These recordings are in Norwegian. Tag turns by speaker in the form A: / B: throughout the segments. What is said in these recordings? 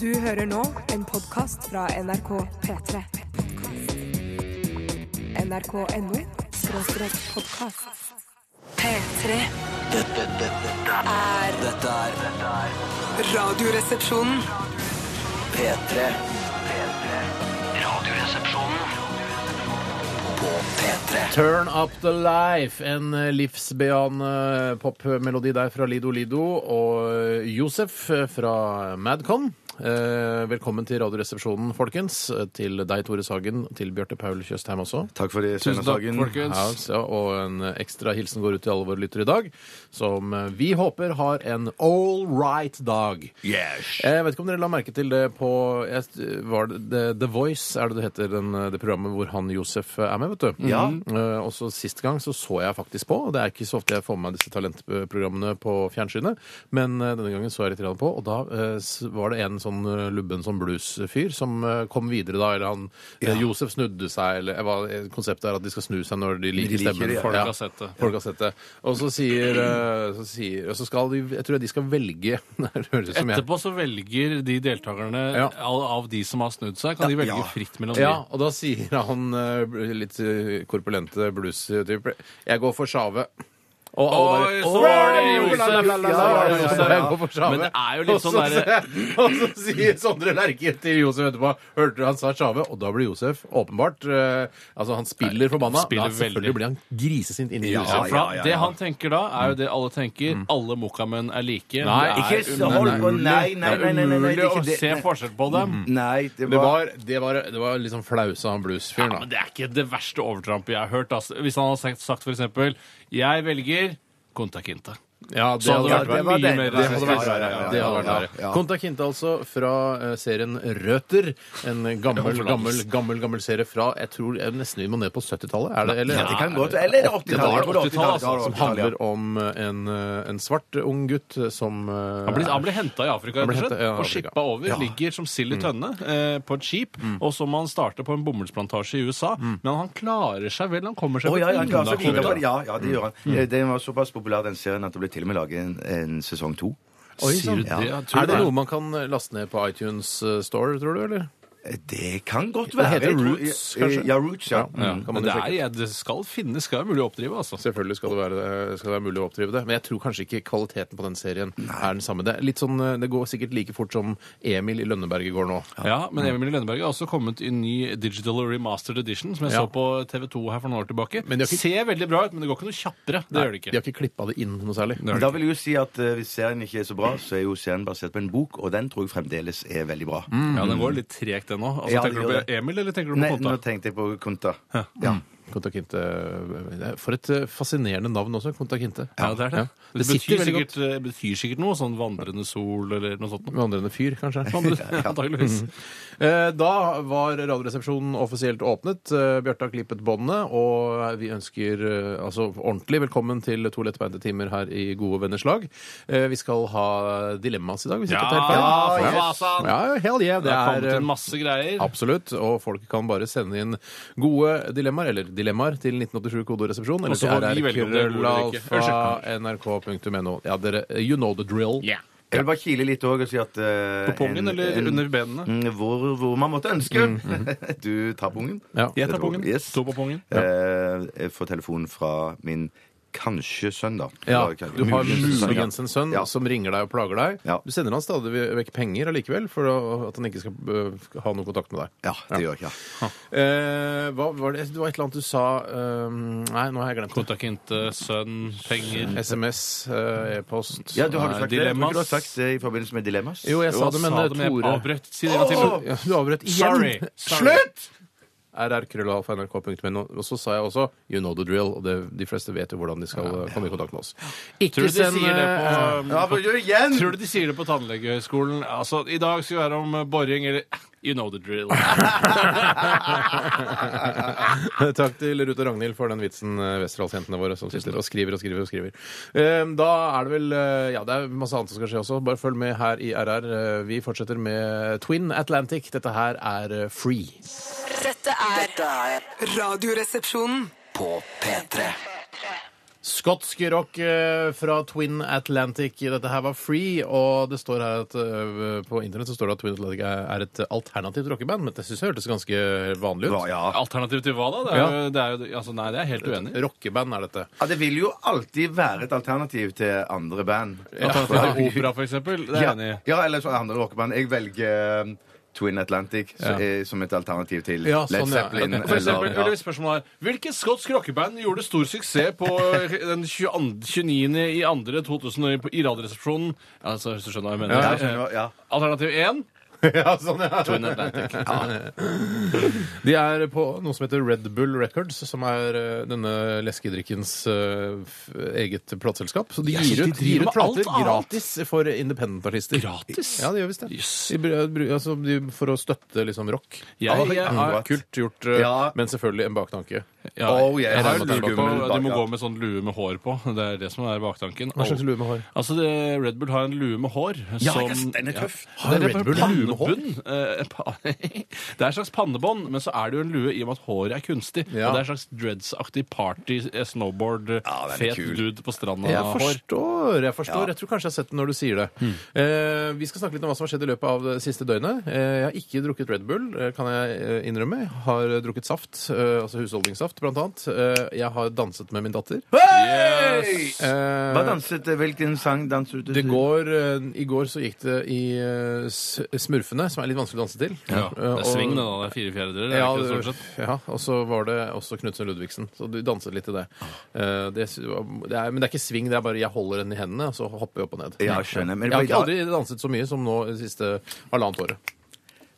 A: Du hører nå en podkast fra NRK P3. NRK.no skråstrek podkast. P3
B: Dette, dette, dette,
A: er
B: dette er dette er
A: Radioresepsjonen.
B: P3. P3. Radioresepsjonen på P3.
C: Turn Up The Life, en eh, livsbejaende eh, popmelodi der fra Lido Lido og eh, Josef fra Madcon. Eh, Velkommen til Radioresepsjonen, folkens. Eh, Til deg, Tore Sagen. Til Bjarte Paul Tjøstheim også.
D: Takk for i
E: Tusen takk, folkens.
C: Ja, så- og en eh, ekstra hilsen går ut til alle våre lyttere i dag, som eh, vi håper har en all right dag.
D: Yes.
C: Eh, Jeg vet ikke om dere la merke til det på jeg, var det, The, The Voice, er det det heter, den, eh, det programmet hvor han Josef er med, vet du.
D: Ja.
C: Eh, og så Sist gang så så jeg faktisk på, og det er ikke så ofte jeg får med meg disse talentprogrammene på fjernsynet, men eh, denne gangen så jeg litt grann på, og da eh, s- var det en sånn eh, lubben som blues-fyr som eh, kom videre da, eller han eh, Josef snudde seg, eller eh, hva, eh, konseptet er at de skal snu seg når de liker,
D: liker
C: stemmen.
D: det, ja.
C: Folk
E: Ja.
C: har sett det. Folk har sett det. Og så sier, eh, så sier og så skal de, jeg tror de skal velge, det høres ut som jeg.
E: Etterpå så velger de deltakerne
C: Ja.
E: av, av de som har snudd seg, kan de
D: Ja.
E: velge fritt mellom
C: Ja, og da sier han eh, bl- litt eh, korpulente blues-type Jeg går for Sjave. Og
E: Oi, så var det
C: «Oi,
E: Josef!»
C: la, la, la, la, la,
D: Ja, ja, ja, ja.
C: Jeg går for Sjave.
E: Men det er jo litt
C: Og så
E: sånn derre-
C: sier- Og så sier Sondre Lerche til Josef etterpå Hørte du han sa Sjave? Og da blir Josef åpenbart eh, Altså, han spiller forbanna.
E: spiller
C: da selvfølgelig
E: veldig.
C: blir han grisesint inni
D: Ja,
C: huset.
E: For
D: ja, ja, ja.
E: Det han tenker da, er jo det alle tenker. Alle mokamenn er like.
C: Nei,
E: det er
D: Ikke så hold på. Nei, nei, nei, nei, nei, nei, det
E: umulig
D: er
E: å
D: ikke det.
E: se
D: Nei. Mm.
E: forskjell på dem.
D: Nei, det
C: Det
D: var
C: var, det var, det var liksom flausa han blues-fyren,
E: Ja,
C: da.
E: men Det er ikke det verste overtrampet jeg har hørt. Altså. Hvis han hadde sagt, sagt for eksempel Jeg velger Conta Quinta.
C: Ja, det
E: Så hadde
C: hadde
E: det
C: vært
E: vært
D: det var
E: mye
D: det.
E: mer
C: Det hadde vært
E: rasistisk.
C: verre.
D: ja, ja,
C: Det hadde vært
D: ja,
C: verre.
D: ja.
C: Konta Kinte altså fra eh, serien Røter. En gammel, gammel, gammel gammel serie fra jeg tror eh, nesten vi må ned på 70-tallet. Er det eller?
D: Ja, det kan godt Eller 80-tallet.
C: Det var
D: Jeg tror det er
E: 80-tallet,
D: det var
C: Som
D: 80-tallet, ja.
C: handler om en, eh, en svart ung gutt som eh,
E: Han ble, han ble henta i Afrika
C: Han ble
E: rett og slett,
C: hentet, ja,
E: og
C: Afrika.
E: skippa over. Ligger som sild i tønne eh, på et skip. Og så må han starte på en bomullsplantasje i USA. Men han klarer seg vel. Han kommer seg
D: Å,
E: vel
D: ja, ja, han klarer seg
E: unna
D: videre på
E: kvoten.
D: det. ja, ja, det gjør han. Eh, Den var såpass populær, den serien, at det ble til og med laget en, en sesong to.
E: Sier du det?
D: Ja.
E: Jeg tror
C: Er det noe man kan eh, laste ned på iTunes eh, Store, tror du, eller?
D: Eh, Det kan godt være.
C: heter
D: Jeg tror- eh,
C: Roots, kanskje?
D: Ja, Roots, ja.
C: Ja.
D: Mm.
C: Kan man
E: Men
C: jo
E: det,
C: sjekke.
E: er, ja, det skal finnes, skal være mulig å oppdrive. altså.
C: Selvfølgelig skal det, være, skal det være mulig å oppdrive det. Men jeg tror kanskje ikke kvaliteten på den serien er den samme. Det, er litt sånn, eh, det går sikkert like fort som Emil i Lønneberget går nå.
E: Ja, Men Emil Lønneberg har også kommet i en ny digital remastered edition, som jeg
C: Ja.
E: så på TV2 her for noen år tilbake.
C: Men de har ikke-
E: Ser veldig bra ut, men det går ikke noe kjappere. Det gjør det
C: De
E: ikke.
C: har ikke klippa det inn noe særlig.
D: Men da vil jeg jo si at eh, hvis serien ikke er så bra, så er jo serien basert på en bok, og den tror jeg fremdeles er veldig bra.
E: Ja, Den går litt tregt ennå. Altså,
D: Ja, det
E: tenker du
D: gjør
E: på Emil, eller tenker Mm. du
D: Nei,
E: på
D: nå
E: Konta?
D: tenkte jeg på Konta. Ja.
C: Konta Kinte eh, For et eh, fascinerende navn også, Konta Kinte.
E: Ja, det er det.
C: Ja.
E: Det,
C: sitter
E: betyr,
C: veldig
E: sikkert, eh, det betyr sikkert noe, sånn vandrende sol eller noe sånt.
C: Vandrende fyr, kanskje.
E: Vandre- Antakeligvis.
C: Eh, Da var Radioresepsjonen offisielt åpnet. Eh, Bjarte har klippet båndet, og vi ønsker eh, altså ordentlig velkommen til to lettbeinte timer her i gode venners lag. Eh, Vi skal ha dilemmas i dag, hvis
E: Ja,
C: ikke det er helt feil.
E: for fasan!
C: Ja, hell yeah,
E: Det har
C: det
E: kommet
C: er eh,
E: inn masse greier.
C: Absolutt. Og folk kan bare sende inn gode dilemmaer, eller dilemmaer, til 1987 kodoresepsjon, eller
E: Og så får vi velge om det er gode eller ikke.
C: rrkrøllalfa.nrk.no. Ja, dere, you know the drill.
E: Yeah.
D: Jeg vil bare kile litt òg og si at eh,
E: På pungen
D: en-
E: eller
D: en-
E: under benene?
D: Mm, Hvor, hvor man måtte ønske. Du tar pungen.
C: Ja.
E: Jeg
D: Det
E: tar
D: tror
E: pungen.
D: jeg. Yes.
E: To på pungen.
D: Eh, Jeg får telefon fra min kanskje sønn, da.
C: Ja,
D: Eller kan-
C: Du har
D: muligens sønn, ja.
C: muligens en sønn
D: Ja.
C: som ringer deg og plager deg.
D: Ja.
C: Du sender han stadig vekk penger allikevel for å- at han ikke skal øh, ha noe kontakt med deg.
D: Ja, det gjør jeg. Ja.
C: Eh, hva var det? det var et eller annet du sa eh, Nei, nå har jeg glemt det.
E: Konta Kinte, sønn, penger
C: SMS, eh, e-post
D: ja, du har du sagt det? Jeg tror
E: Dilemmas.
D: ikke Du har sagt det i forbindelse med Dilemmas.
C: Jo, jeg sa det, men eh,
E: jeg
C: Tore
E: avbrøt. Si det en gang til.
D: Åh!
C: ja, Du avbrøt igjen.
E: Sorry. Sorry.
C: rrkrøllalfa.nrk.no. Og så sa jeg også you know the drill. Og det, de fleste vet jo hvordan de skal eh, komme i kontakt med oss. Ikke eh,
E: Tror du de sier det på um,
D: Ja, men gjør det igjen!
E: Tror du de sier det på tannlegehøgskolen? Altså, I dag skal vi være om eh, boring eller eh, You know the drill.
C: eh, Takk til Ruth og Ragnhild for den vitsen, eh, Westerdalsjentene våre, som sitter og skriver og skriver og skriver. Eh, Da er det vel eh, Ja, det er masse annet som skal skje også. Bare følg med her i RR. Eh, Vi fortsetter med Twin Atlantic. Dette her er eh, Free.
A: Dette er
B: Dette er
A: Radioresepsjonen.
B: på P3.
C: Skotsk rock eh, fra Twin Atlantic. Dette her var Free, og det står her at eh, på internett så står det at Twin Atlantic er er et alternativt rockeband, men det syns jeg hørtes ganske vanlig ut.
D: Ja, ja.
E: Alternativ til hva da? Det er,
C: Ja.
E: jo, det er, jo- altså, nei, det er jeg helt uenig. i.
C: Rockeband er dette.
D: Ja, det vil jo alltid være et alternativ til andre band.
E: Alternativ til opera, for eksempel. Det er jeg enig i.
D: Ja, ja, eller så andre rockeband. Jeg velger um, Twin Atlantic så-
C: Ja.
D: eh, som et alternativ til
C: Ja,
D: Led
C: sånn, ja.
D: Zeppelin.
C: Ja,
E: For eksempel,
D: eller-
E: eller hvis spørsmålet er Hvilket skotsk rockeband gjorde stor suksess på eh, den 22 29. i andre 2000 i- i Radioresepsjonen? Altså, hvis du skjønner hva
D: ja.
E: jeg mener. Eh,
D: Ja, skjønner, ja.
E: Alternativ 1
C: ja, sånn, ja.
E: Twin Atlantic.
C: De er på noe som heter Red Bull Records, som er eh, denne leskedrikkens eh, f- eget plateselskap. Så de
E: Ja, så
C: gir
E: de
C: ut, gir
E: driver
C: ut
E: med alt
C: plater
E: annet.
C: gratis for independent-artister.
E: Gratis?
C: Ja, de gjør visst det.
E: Jøss.
C: De, br- br- altså, de, for å støtte liksom rock.
E: Jeg-
C: Ja, det
E: jeg-
C: er Kult gjort, eh,
D: Ja.
C: men selvfølgelig en baktanke.
E: Ja,
D: Oh, yeah.
E: jeg har
D: Jeg
E: lurt
D: regner med
E: på,
D: det er
E: Du må
D: bakgrunnen.
E: gå med sånn lue med hår på. Det er det som er baktanken.
C: Hva slags lue med hår?
E: Altså, det, Red Bull har en lue med hår.
D: Ja, yes, den er tøff.
C: Har
E: Det er
C: Red
E: bare
C: Bull lue med hår?
E: pannebånd. Eh, pa- Det er et slags pannebånd, men så er det jo en lue i og med at håret er kunstig.
C: Ja.
E: Og det er et slags dreads-aktig party, eh, snowboard,
D: den er
E: fet
D: kul.
E: dude på stranda.
C: Jeg
E: hår.
C: forstår. Jeg forstår.
D: Ja.
C: Jeg tror kanskje jeg har sett den når du sier det.
E: Mm.
C: Eh, vi skal snakke litt om hva som har skjedd i løpet av det siste døgnet. Eh, jeg har ikke drukket Red Bull, eh, kan jeg eh, innrømme. Jeg har eh, drukket saft, eh, altså husholdningssaft, blant annet. Eh, jeg har danset med min datter.
E: Yes!
C: Eh,
D: Hva danset Hvilken sang danset du
C: det går, eh, I går så gikk det i eh, s- Smurfene, som er litt vanskelig å danse til.
E: Ja, det
C: Eh,
E: er
C: og-
E: sving, det da. Det er fire fjerdedeler.
C: Ja,
E: Ja,
C: det- ja, og så var det også Knutsen og Ludvigsen. Så du danset litt til det.
E: Ah.
C: Eh, det, sy- det er, men det er ikke sving, det er bare jeg holder den i hendene, og så hopper jeg opp og ned.
D: Ja, skjønner. Men
C: jeg har ikke aldri danset så mye som nå det siste halvannet året.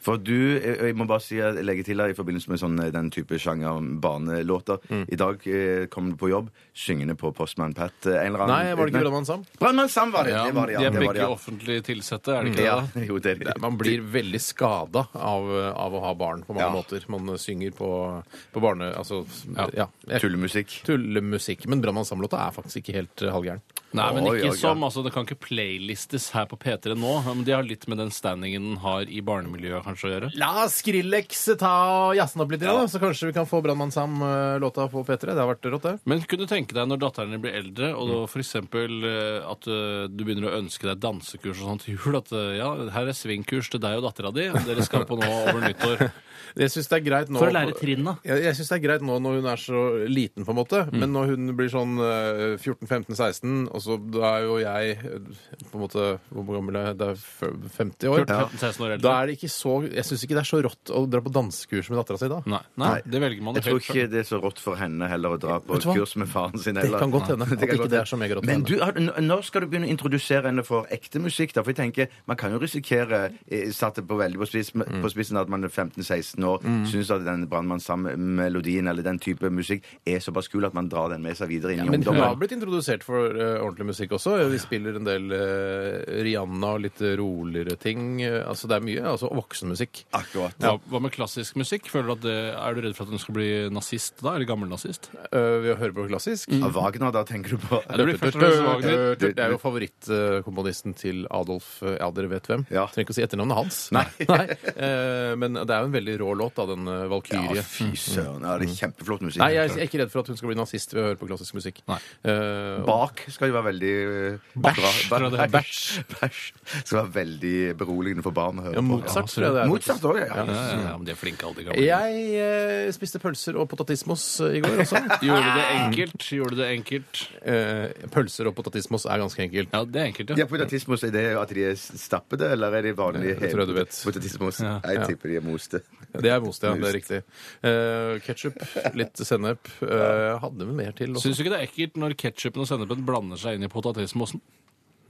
D: For du, eh, jeg må bare si, jeg legger til her i forbindelse med sånn, eh, den type sjanger barnelåter.
C: Mm.
D: I dag eh, kom du på jobb syngende på Postman Pat. eh, En eller annen,
C: Nei, var det ikke Brødremann Sam?
D: Brannmann Sam var det!
E: Ja,
D: det var det, ja.
E: de er
D: det var det,
E: begge
D: ja.
E: offentlig tilsette, er det ikke det? da?
D: Ja, jo, det er
C: Det-
D: det.
C: Man blir veldig skada av, av å ha barn på mange
D: Ja.
C: måter. Man synger på, på barne... Altså, ja.
E: Ja.
C: Jeg-
D: Tullemusikk.
C: Tullemusikk. Men Brannmann Sam-låta er faktisk ikke helt eh, halvgæren.
E: Nei, men
D: Oi,
E: ikke
D: oi, oi.
E: som, altså Det kan ikke playlistes her på P3 nå. Men de har litt med den standingen den har i barnemiljøet kanskje å gjøre.
C: La Skrillex ta og jazze den opp litt, ja. da, så kanskje vi kan få Brannmann Sam-låta på P3. Det har vært rått, det.
E: Men kunne du tenke deg når datteren din blir eldre, og da for eksempel eh, at eh, du begynner å ønske deg dansekurs og sånt til jul, at eh, ja, her er svingkurs til deg og dattera di, dere skal på nå over nyttår.
C: Jeg synes det er greit nå
E: For å lære trinna.
C: Jeg, jeg synes det er greit nå når hun er så liten, på en måte. Men når hun blir sånn 14-15-16, og så da er jo jeg eh, på en måte Hvor gammel er jeg? Det er f- 50 år.
E: 14-15-16 år
C: Da
E: eldre.
C: er det ikke så Jeg syns ikke det er så rått å dra på dansekurs med dattera si da.
E: Nei, nei, det velger man
D: Jeg tror
E: helt
D: ikke
E: sjøl.
D: det er så rått for henne heller å dra på
C: Vet du hva?
D: kurs med faren sin.
C: Det
D: Heller.
C: kan godt hende
D: Nei,
C: at ikke
D: godt
C: det er
D: hende.
C: så megarått for
D: Men
C: henne.
D: du, har- n- når skal du begynne å introdusere henne for ekte musikk? da? For jeg tenker, Man kan jo risikere, eh, satt det på veldig på spissen,
C: Mm.
D: på spissen at man er 15-16 år, syns at den Brannmann Sam-melodien eller den type musikk er såpass kul at man drar den med seg videre inn i
C: Men hun har
D: ungdommen.
C: blitt introdusert for eh, ordentlig musikk også. Vi spiller en del eh, Rihanna og litt roligere ting. Eh, Altså det er mye. Altså voksenmusikk.
D: Akkurat.
E: Hva, hva med klassisk musikk? Føler du at det, Er du redd for at hun skal bli nazist da? Eller gammel nazist?
C: Eh, ved å høre på klassisk.
D: Av Wagner, da tenker du på?
E: det blir først og fremst Wagner.
C: Det er jo favorittkomponisten til Adolf eh, Ja, dere vet hvem.
D: Ja.
C: Trenger ikke å si etternavnet hans.
D: Nei.
C: Eh, Men det er jo en veldig rå låt, da, den eh,
D: Ja,
C: Valkyrie.
D: fy søren. Ja, det er kjempeflott musikk.
C: Mm. Nei, jeg er ikke redd for at hun skal bli nazist ved å høre på klassisk musikk.
E: Nei.
C: Eh, og-
D: Bak skal jo være veldig eh,
E: Bæsj,
D: bra.
E: tror jeg det heter.
D: Bæsj. Bæsj. Skal være veldig beroligende for barn å høre
C: ja,
D: på.
C: Mozart, tror jeg det er.
D: Mozart òg, ja.
E: Ja, ja, ja, men de er flinke, alle de gamle.
C: Jeg eh, spiste pølser og potatismos eh, i går også.
E: Gjorde du det enkelt? Gjorde du det enkelt?
C: Eh, Pølser og potatismos er ganske enkelt.
E: Ja, det er enkelt,
D: Ja,
E: ja.
D: Potatismos, er det at de er stappede, eller er de vanlige
C: Det tror jeg du vet.
D: potatismos? Jeg tipper de er moste.
C: Det er most, ja. Det er riktig. Eh, Ketsjup, litt sennep. Eh, Hadde vi mer til? også.
E: Syns du ikke det er ekkelt når ketsjupen og sennepen blander seg inn i potatismosen?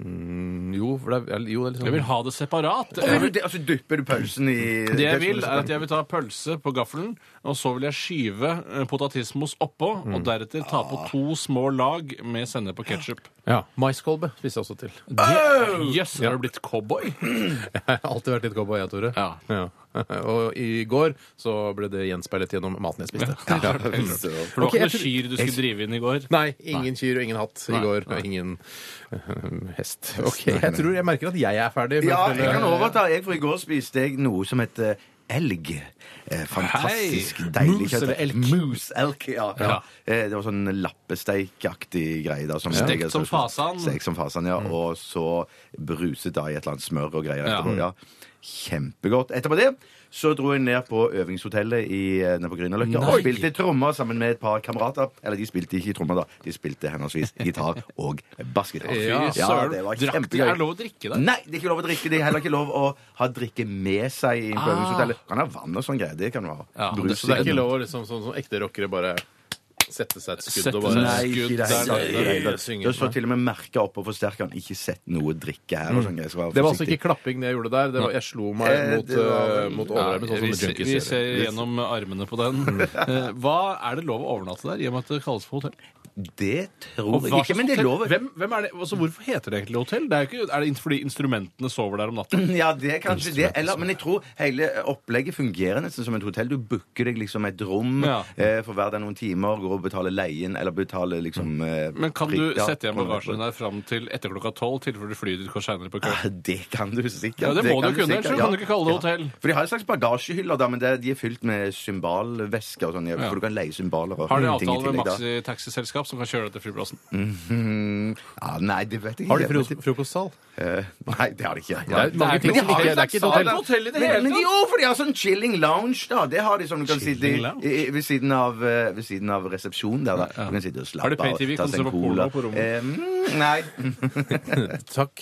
C: Jo, for det er, jo, det er litt sånn-
E: Jeg vil ha det separat.
D: Å,
E: Jeg
D: du,
E: vil,
D: det, altså dypper du pølsen i
E: det jeg vil, er at jeg vil ta pølse på gaffelen, og så vil jeg skyve eh, potatismos oppå, og deretter ta på to små lag med sennep og ketsjup.
C: Ja. Maiskolbe spiste jeg også til.
E: Jøss, er du blitt cowboy?
C: Jeg har alltid vært litt cowboy, jeg, Tore.
E: Ja.
C: Og i går så ble det gjenspeilet gjennom maten jeg spiste.
D: Ja,
E: For det var
C: Ok,
E: ikke
C: jeg
E: noe
C: tror-
E: kyr du skulle drive inn i går.
C: Nei, ingen kyr og ingen hatt i går. Og ingen eh, hest. OK, jeg tror jeg merker at jeg er ferdig. med-
D: jeg kan overta. Jeg, for i går spiste jeg noe som heter eh, elg. Eh, eh, fantastisk deilig
C: Moose eller elk?
D: Moose elk, ja. ja.
E: Ja.
D: Eh, det var sånn lappesteikaktig greie. da. Som
E: Stekt som fasan.
D: Stekt som fasan, ja. Og så bruset da i et eller annet smør og greier
E: Mm. Ja.
D: etterpå. Ja. Kjempegodt. Etterpå det så dro jeg ned på øvingshotellet i, eh, nede på Grünerløkka og
E: Nei.
D: spilte trommer sammen med et par kamerater. Eller de spilte ikke trommer, da. De spilte henholdsvis gitar og bassgitar.
E: Ja, søren.
D: det var
E: Drakk de-
D: kjempegøy.
E: Er det lov å drikke der?
D: Nei, det er ikke lov å drikke. Det er heller ikke lov å ha drikke med seg i
E: Ah.
D: øvingshotellet. Kan ha vann og sånn greier. Det kan du ha.
E: Ja,
D: Brus
C: Så det er
D: i
C: ikke
D: den.
C: lov å liksom, sånn som ekte rockere bare sette seg et skudd
E: Sette
C: og bare
D: Nei, ikke i det hele
E: skudd
D: tatt.
E: der
D: Ikke i det hele
E: nede,
D: tatt.
E: synge.
D: Det står til og med merka opp på forsterkeren 'ikke sett noe drikke her'
E: Mm.
D: og sånn greier. så vær
C: Det var altså
D: forsiktig.
C: ikke klapping det jeg gjorde der. Det var, jeg slo meg
D: Eh,
C: mot,
D: det var
C: eh,
D: vel-
C: mot
E: Ja,
C: overarmen, sånn som
E: vi,
C: en
E: ser-
C: junkie
E: vi
C: ser.
E: ser gjennom armene på den. Eh, Hva er det lov å overnatte der, i og med at det kalles for hotell?
D: Det tror
E: Og
D: jeg
E: hva
D: ikke,
E: slags
D: men det er
E: hotell-
D: lov.
E: Hvem, hvem er det, altså, hvorfor heter det egentlig hotell? Det er, jo ikke, er det inn- fordi instrumentene sover der om natten?
D: Ja, det er kanskje det. Eller, men jeg tror hele opplegget fungerer nesten som et hotell. Du booker deg liksom et rom
E: Ja.
D: eh, for hver dag noen timer, går og betaler leien, eller betaler liksom eh,
E: Men kan du
D: prik- ja,
E: sette igjen
D: kroner.
E: bagasjen der fram til etter klokka tolv, tilfelle du flyr ut seinere på
D: Ja,
E: kvelden?
D: Det kan du sikkert.
E: Ja, det må
D: kan
E: du kunne, ellers så
D: sikkert,
E: kan du ikke kalle det hotell.
D: For de har en slags bagasjehyller, da, men det, de er fylt med symbalvæske og sånn. ja, For du kan leie symbaler og
E: Har de
D: ting i
E: avtale med
D: tillegg, da.
E: maxitaxiselskap som kan kjøre deg til flyplassen?
D: Mm, ja, nei, det vet jeg ikke.
C: Har de fro- frokostsal?
D: Eh, nei, det har de ikke.
C: Det er mange ting
D: Men de
C: som
D: har
C: ikke sånn. Det er ikke
D: jo
C: et
E: slags
C: hotell.
E: sal, hotell i det
D: men,
E: hele
D: men de,
E: tatt.
D: jo, for de har sånn chilling lounge, da. Det har de som du kan sitte i,
E: Chilling lounge?
D: i, ved, siden av, eh, ved siden av resepsjonen der. Da. Du kan sitte og
E: Har de
D: slappe av.
E: pay-TV?
D: ta
E: Kan
D: seg
E: du se
D: en
E: på porno
D: cola.
E: på rommet?
D: Eh, mm, nei.
C: Takk.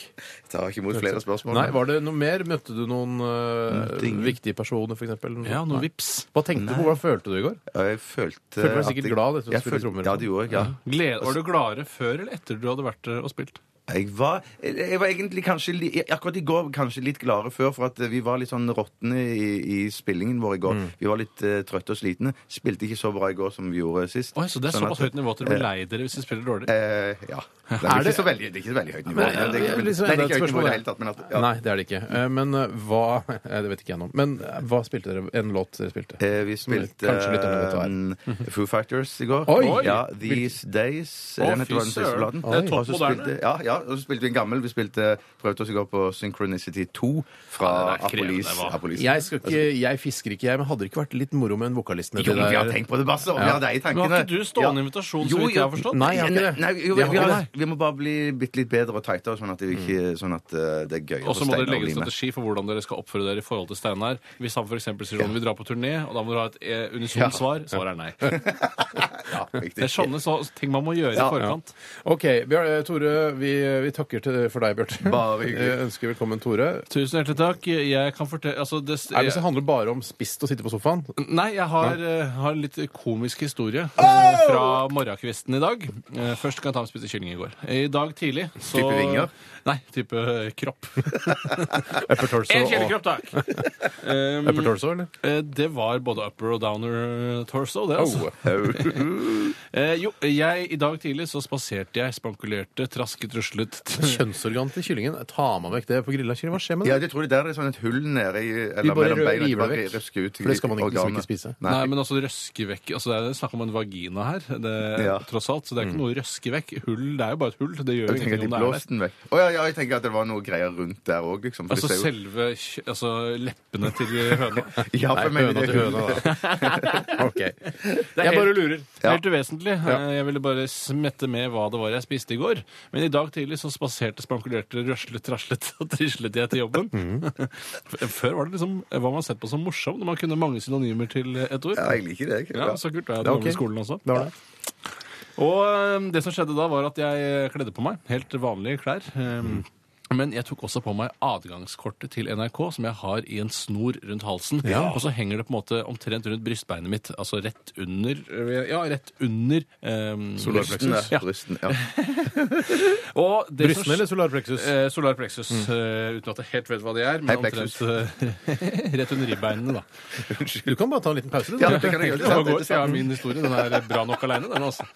D: Tar ikke imot flere spørsmål.
C: Nei, Var det noe mer? Møtte du noen eh,
D: Møtte ingen.
C: viktige personer, f.eks.?
E: Ja, noen vips.
C: Hva tenkte du på? Hvordan følte du det i går?
D: Ja, Jeg følte
C: Følte du deg
D: at
C: sikkert
D: jeg-
C: glad etter å
D: jeg
C: spille
D: følte-
C: trommer?
D: Ja, det gjorde jeg. ja.
E: Glede, var du gladere før eller etter du hadde vært eh, og spilt?
D: Jeg var, jeg var egentlig kanskje li- Akkurat i går kanskje litt gladere før, for at vi var litt sånn råtne i, i spillingen vår i går.
E: Mm.
D: Vi var litt eh, trøtte og slitne. Spilte ikke så bra i går som vi gjorde sist.
E: Oi, så Det er
D: Sånn
E: såpass Eh,
D: at-
E: høyt nivå at dere blir lei dere hvis dere spiller dårlig?
D: Eh, ja. Det er,
C: Er
D: ikke
C: det-
D: så veldig, det er ikke så veldig høyt nivå.
C: Men,
D: det, er,
C: eh, liksom
D: det er
C: enda
D: ikke
C: et
D: høyt nivå i det
C: spørsmål.
D: hele tatt, men at ja.
C: Nei, det er det ikke. Eh, Men eh, hva eh, Det vet ikke jeg nå. Men eh, hva spilte dere? En låt dere spilte?
D: Eh, vi spilte
C: Kanskje litt underlig
D: eh, Foo Fighters i går.
C: Oi!
D: Ja, These Days.
E: Å,
D: den heter
E: fy
D: den siste
E: søren.
D: platen.
E: Det er topp
D: Og så
E: moderne.
D: spilte- Ja, ja, og så spilte vi en gammel. Vi spilte, prøvde oss i går på Synchronicity 2 fra
E: Ja, det er krevende,
D: Apolis.
E: hva?
D: Apolis.
C: Jeg, skal ikke, jeg fisker ikke, jeg, men hadde det ikke vært litt moro med en vokalist nedi
D: Jo, vi har tenkt på det, Basse. Vi
C: Ja.
D: har deg i
E: Men
D: tankene.
E: Har ikke du
D: Ja.
E: stående invitasjon,
D: Jo,
E: så vidt jeg har
D: jo.
E: forstått?
C: Nei, jeg har ikke det.
D: Nei,
C: Det
D: jo, vi,
C: har
D: vi,
C: ikke
D: har,
C: det. Mm.
D: vi må bare bli bitte litt bedre og tightere, sånn at, vi ikke, sånn at eh, det er gøy
E: Og så må dere legge en
D: bli med.
E: strategi for hvordan dere skal oppføre dere i forhold til Steinar. Hvis han f.eks. sier sånn, vi drar på turné, og da må dere ha et eh,
D: Ja.
E: unisont svar, svaret er nei.
D: Ja,
E: Det er sånne så, ting man må gjøre i
D: Ja,
E: forkant.
C: OK, Bjar eh, Tore, vi, vi takker til, for deg, Bjarte.
D: Bare hyggelig.
C: Eh, Ønsker velkommen, Tore.
E: Tusen hjertelig takk. Jeg kan fortelle altså, det,
C: Er det hvis det handler bare om spist og sitte på sofaen?
E: Nei, jeg har, eh, har en litt komisk historie eh, fra morgenkvisten i dag. Eh, først kan jeg ta med spiste kylling i går. I dag tidlig så
D: Type vinger?
E: Nei, type eh, kropp.
C: Upper torso
E: Én
C: og
E: kyllingkropp, takk! Um,
C: Upper torso, eller?
E: eh, det var både upper og downer torso, det, altså.
C: Oh.
E: Eh, jo, jeg, i dag tidlig så spaserte jeg, spankulerte, trasket, ruslet
C: Kjønnsorgan til kyllingen. Ta meg vekk det på grilla kylling. Hva skjer med
D: Ja,
C: det?
D: jeg tror det der er sånn et hull nede i
C: Vi
D: eller
C: bare
D: mellom beina.
C: river det
D: bare
C: vekk.
D: røsker ut
C: For det skal man ikke- liksom
D: organet.
C: ikke spise.
E: Nei,
D: Nei.
E: men altså røske vekk altså, Det er snakk om en vagina her, det,
D: Ja. Mm.
E: tross alt. Så det er ikke noe å røske vekk. Hull, det er jo bare et hull. Det gjør jo
D: Jeg tenker at de
E: ingenting om det er der.
D: blåste den vekk. Å ja, ja, jeg tenker at det var noe greier rundt der òg, liksom. for
E: Altså
D: det ser jo-
E: selve kj- altså, leppene til høna.
D: Ja,
C: Nei,
D: for jeg mener
C: høna
D: det
C: til høna, da. OK.
E: Det
C: Jeg
E: er
C: bare
E: helt,
C: lurer.
E: helt uvesentlig. Eh, Jeg ville bare smette med hva det var jeg spiste i går. Men i dag tidlig så spaserte, spankulerte, røslet, traslet og trislet jeg til jobben. F- Før var det liksom hva man sett på som morsomt, når man kunne mange synonymer til et ord.
D: Ja, jeg liker det. Jeg.
E: Ja, så kult. Da er jeg
C: Ja,
E: hadde
C: ok.
E: noe i skolen også.
C: Det var det.
E: Og øhm, det som skjedde da, var at jeg eh, kledde på meg helt vanlige klær. øhm, Men jeg tok også på meg adgangskortet til NRK, som jeg har i en snor rundt halsen. Og så henger det på en måte omtrent rundt brystbeinet mitt. Altså rett under øh, Ja, rett under øhm,
D: Brystene.
E: Ja.
D: Brystene, ja.
E: Og det som
C: Brystene eller solarplexus?
E: Eh, solar plexus, eh, uten at jeg helt vet hva det er. Men
D: Hei,
E: omtrent
D: plexus.
E: eh, rett under ribbeinene, da.
C: Du kan bare ta en liten pause.
D: Ja,
C: Du.
D: det kan jeg gjøre.
E: Det var godt, ja, min historie. Den er bra nok aleine, den, altså.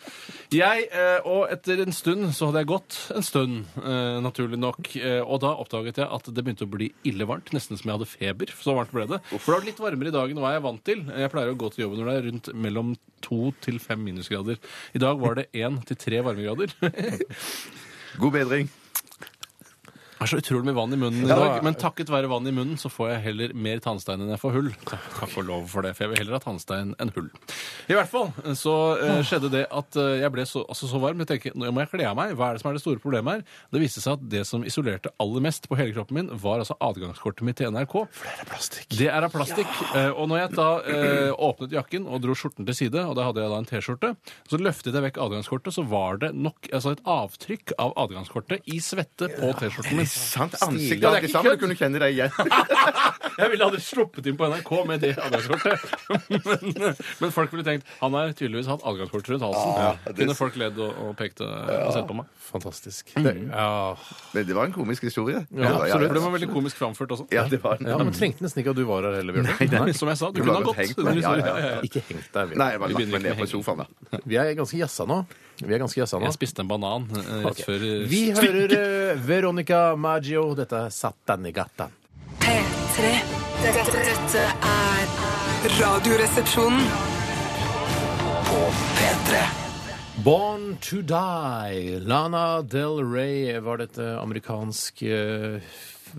E: Jeg, eh, og etter en stund så hadde jeg gått en stund, eh, naturlig nok. eh, Og da oppdaget jeg at det begynte å bli ille varmt, nesten som jeg hadde feber. Så varmt ble det. For det var litt varmere i dag enn hva jeg er vant til. Jeg pleier å gå til jobben når det er rundt mellom to til fem minusgrader. I dag var det én til tre varmegrader.
D: God bedring.
E: har så utrolig mye vann i munnen i
C: Ja,
E: dag,
C: da-
E: men takket være vann i munnen så får jeg heller mer tannstein enn jeg får hull. Takk og lov for det, for jeg vil heller ha tannstein enn hull. I hvert fall så eh, skjedde det at eh, jeg ble så, altså, så varm. Jeg tenker, nå må jeg kle av meg. Hva er det som er det store problemet her? Det viste seg at det som isolerte aller mest på hele kroppen min, var altså adgangskortet mitt til NRK. Det er av plastikk. Eh, Og når jeg da eh, åpnet jakken og dro skjorten til side, og da hadde jeg da en T-skjorte, så løftet jeg vekk adgangskortet, så var det nok altså et avtrykk av adgangskortet i svette på T-skjorten min.
D: Sant ansikt
E: Ja,
D: ja,
E: det er
D: det
E: ikke
D: sammen,
E: kødd.
D: du kunne kjenne deg igjen.
E: Jeg ville aldri sluppet inn på NRK med det adgangskortet. Men, men folk ville tenkt han har tydeligvis hatt adgangskort rundt halsen. Kunne folk ledd og, og pekt og, og sett på meg.
C: Fantastisk. Det, ja.
D: Men det var en komisk historie.
C: Ja, absolutt.
E: For den var veldig komisk framført også.
D: Ja, det var den.
C: ja, men Trengte nesten ikke at du var her heller, Bjørn.
E: Nei, som jeg sa, du
D: Du
E: kunne
D: har
E: ha
D: godt
E: gått.
D: hengt meg. Ja, ja, ja.
C: Ikke hengt deg. Bjørn.
D: Nei, jeg bare
E: Vi
D: lagt
E: begynner
D: meg ned
E: ikke med
D: på sofaen, da.
C: Vi er ganske jassa nå. Vi er ganske jassa nå.
E: Jeg spiste en banan eh, rett
C: Ok.
E: før eh,
C: Vi hører eh, Veronica Maggio. Dette er Satanigata.
A: P3. Dette, dette er Radioresepsjonen.
B: P3
C: Born to Die. Lana Del Rey var dette amerikansk eh,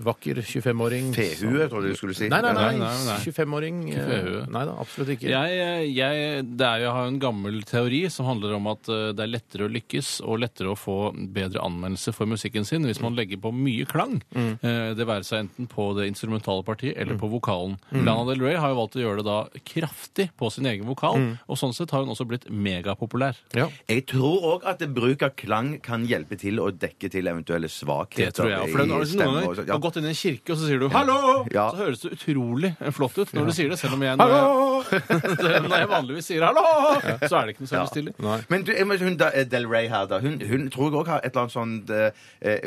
C: vakker 25-åring.
D: Tehue, tror jeg du skulle si.
C: Nei, nei, nei.
E: Nei, nei, nei.
C: 25-åring. eh, Nei da, absolutt ikke.
E: Jeg, eh, jeg, det er jo, jeg har en gammel teori som handler om at eh, det er lettere å lykkes og lettere å få bedre anmeldelse for musikken sin hvis man legger på mye klang.
D: Mm.
E: Eh, Det være seg enten på det instrumentale partiet eller på vokalen.
D: Mm.
E: Lana Del Rey har jo valgt å gjøre det da kraftig på sin egen vokal,
D: Mm.
E: og sånn sett har hun også blitt megapopulær.
C: Ja.
D: Jeg tror òg at bruk av klang kan hjelpe til å dekke til eventuelle svakheter.
E: Det tror jeg.
D: i
E: For den har liksom
D: stemme
E: noen
D: og så-
E: ganger
D: ja.
E: har gått inn i en kirke, og så sier du 'hallo',
D: Ja.
E: så høres det utrolig flott ut når du sier det, selv om jeg når jeg, når jeg vanligvis sier 'hallo', så er det ikke noe særlig stille.
C: Nei.
D: Men du, jeg må- hun da, eh, Del Rey her, da, hun, hun tror jeg òg har et eller annet sånt eh,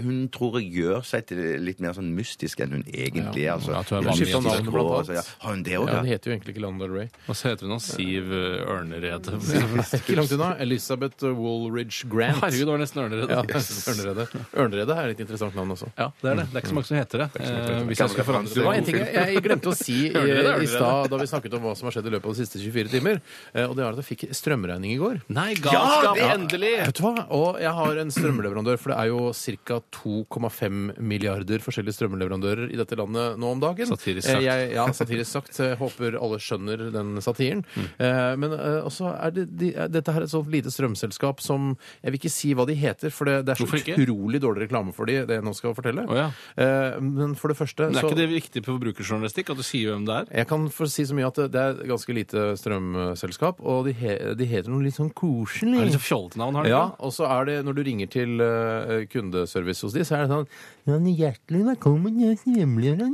D: Hun tror jeg gjør seg til litt mer sånn mystisk enn hun egentlig er. Altså.
E: Ja, jeg tror jeg
D: Hun
E: var
D: skifter
E: mystisk.
D: navn
C: Blant
D: på,
C: annet.
D: altså, ja. Har hun det òg,
C: Ja,
D: ja?
C: hun heter jo egentlig ikke Lana Del Rey.
E: Og så heter hun da Siv eh, Ørnered.
C: Ikke langt unna. Elizabeth Woolridge Grant.
E: Herregud, det var nesten Ørnered.
C: Ja, Ørneredet. Ørneredet er et interessant navn også.
E: Ja, det er det. Det er ikke så mange som heter det. Eh, hvis jeg skal forandre
C: Det
E: det
C: var en ting jeg, jeg glemte å si i,
E: Hører dere det?
C: i stad da vi snakket om hva som har skjedd i løpet av de siste 24 timer. eh, Og det er at jeg fikk strømregning i går.
E: Eh, Nei, galskap!
D: Ja,
E: endelig!
C: Vet du hva? Og jeg har en strømleverandør, for det er jo ca. 2,5 milliarder forskjellige strømleverandører i dette landet nå om dagen.
E: Satirisk sagt.
C: Eh, Jeg, ja, satirisk sagt. Jeg håper alle skjønner den satiren.
E: Mm.
C: Eh, Men eh, også er det, de, er dette her et sånt lite strømselskap som Jeg vil ikke si hva de heter, for det, det er så
E: Hvorfor ikke?
C: utrolig dårlig reklame for de, det jeg nå skal fortelle.
E: Å ja.
C: Eh, Men for det første
E: Men er
C: så-
E: ikke det viktig på forbrukerjournalistikk at du sier hvem det er?
C: jeg kan få si så mye at det- det er et ganske lite strømselskap, og de, he, de heter noe litt sånn
E: Det er
C: koselig.
E: litt fjollete navn, har du
C: Ja, og så er det, når du ringer til eh, kundeservice hos de, så er det sånn Ja, men hjertelig velkommen til oss hjemlige,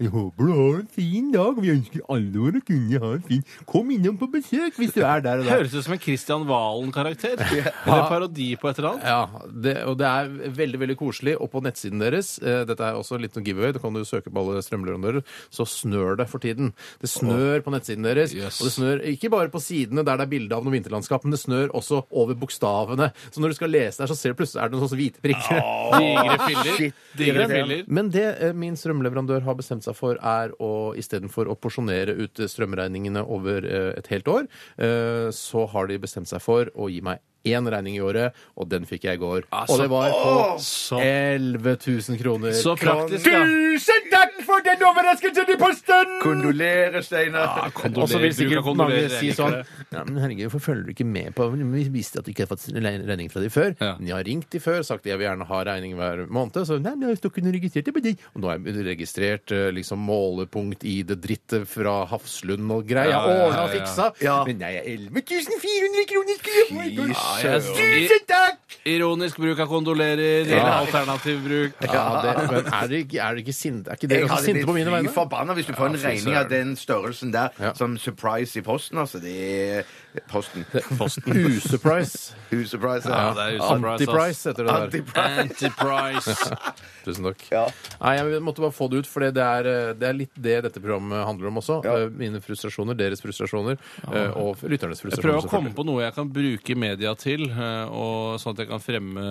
C: Vi håper du har en fin dag, og vi ønsker alle våre kunder ha en fin Kom innom på besøk hvis du er der og
E: ikke?
C: der.
E: Høres ut som en Christian Valen-karakter. Eller parodi på et eller annet.
C: Ja, det, og det er veldig veldig koselig. Og på nettsiden deres eh, dette er også litt noe giveaway, da kan du søke på alle strømleverandører, så snør det for tiden. Det snør på nettsiden deres,
E: Yes.
C: og det snør ikke bare på sidene der det er bilde av noe vinterlandskap, men det snør også over bokstavene. Så når du skal lese der, så ser du plutselig er det noen sånne hvite prikker.
E: Digre filler.
D: shit.
E: Digre filler.
C: Men det eh, min strømleverandør har bestemt seg for, er å istedenfor å porsjonere ut eh, strømregningene over eh, et helt år, eh, så har de bestemt seg for å gi meg én regning i året, og den fikk jeg i går.
E: Altså,
C: og det var på
E: Så,
C: 11 000 kroner.
E: så praktisk, da.
D: Tusen takk for den overraskelsen i posten! Kondolerer,
E: Ah,
D: Steinar.
C: Og så vil sikkert mange
E: Kondolerer,
C: si
E: jeg liker
C: sånn
E: det.
C: Ja, men herregud, hvorfor følger du ikke med på Vi visste at du ikke hadde fått regning fra de før.
E: Ja.
C: Men jeg har ringt de før, sagt at jeg vil gjerne ha regning hver måned. Så nei, men jeg har ikke noe registrert det på deg. Og nå har jeg registrert eh, liksom målepunkt i det drittet fra Hafslund og greier. Jeg
E: Ja, ja,
C: har
E: ja,
C: ordna og
E: ja, ja.
C: fiksa.
D: Ja.
C: Men nei, 11 400 kroner skulle jeg få i går!
E: Ja,
D: "Eh,
E: jeg-
C: Tusen takk!
E: Ironisk bruk av kondolerer, alternativ bruk.
C: Ja, det, men er det, ikke- er det ikke sinte? Er ikke dere også sinte på mine
D: fy
C: vegne?
D: forbanna hvis du får en
E: fy
D: regning av den størrelsen der
C: Ja.
D: som surprise i posten. Altså, det er posten.
C: Usurprise.
D: Usurprise.
E: Ja,
D: Ja.
E: det er usurprise, ass.
C: Antiprice heter det der.
D: Antiprice.
E: Antiprice.
C: Tusen takk.
D: Ja.
C: Nei, jeg måtte bare få det ut, for det er, eh, det er litt det dette programmet handler om også.
D: Ja.
C: Eh, Mine frustrasjoner, deres frustrasjoner eh, og lytternes
E: Jeg
C: frustrasjoner.
E: prøver å komme på noe jeg kan bruke media til, eh, og sånn at jeg kan fremme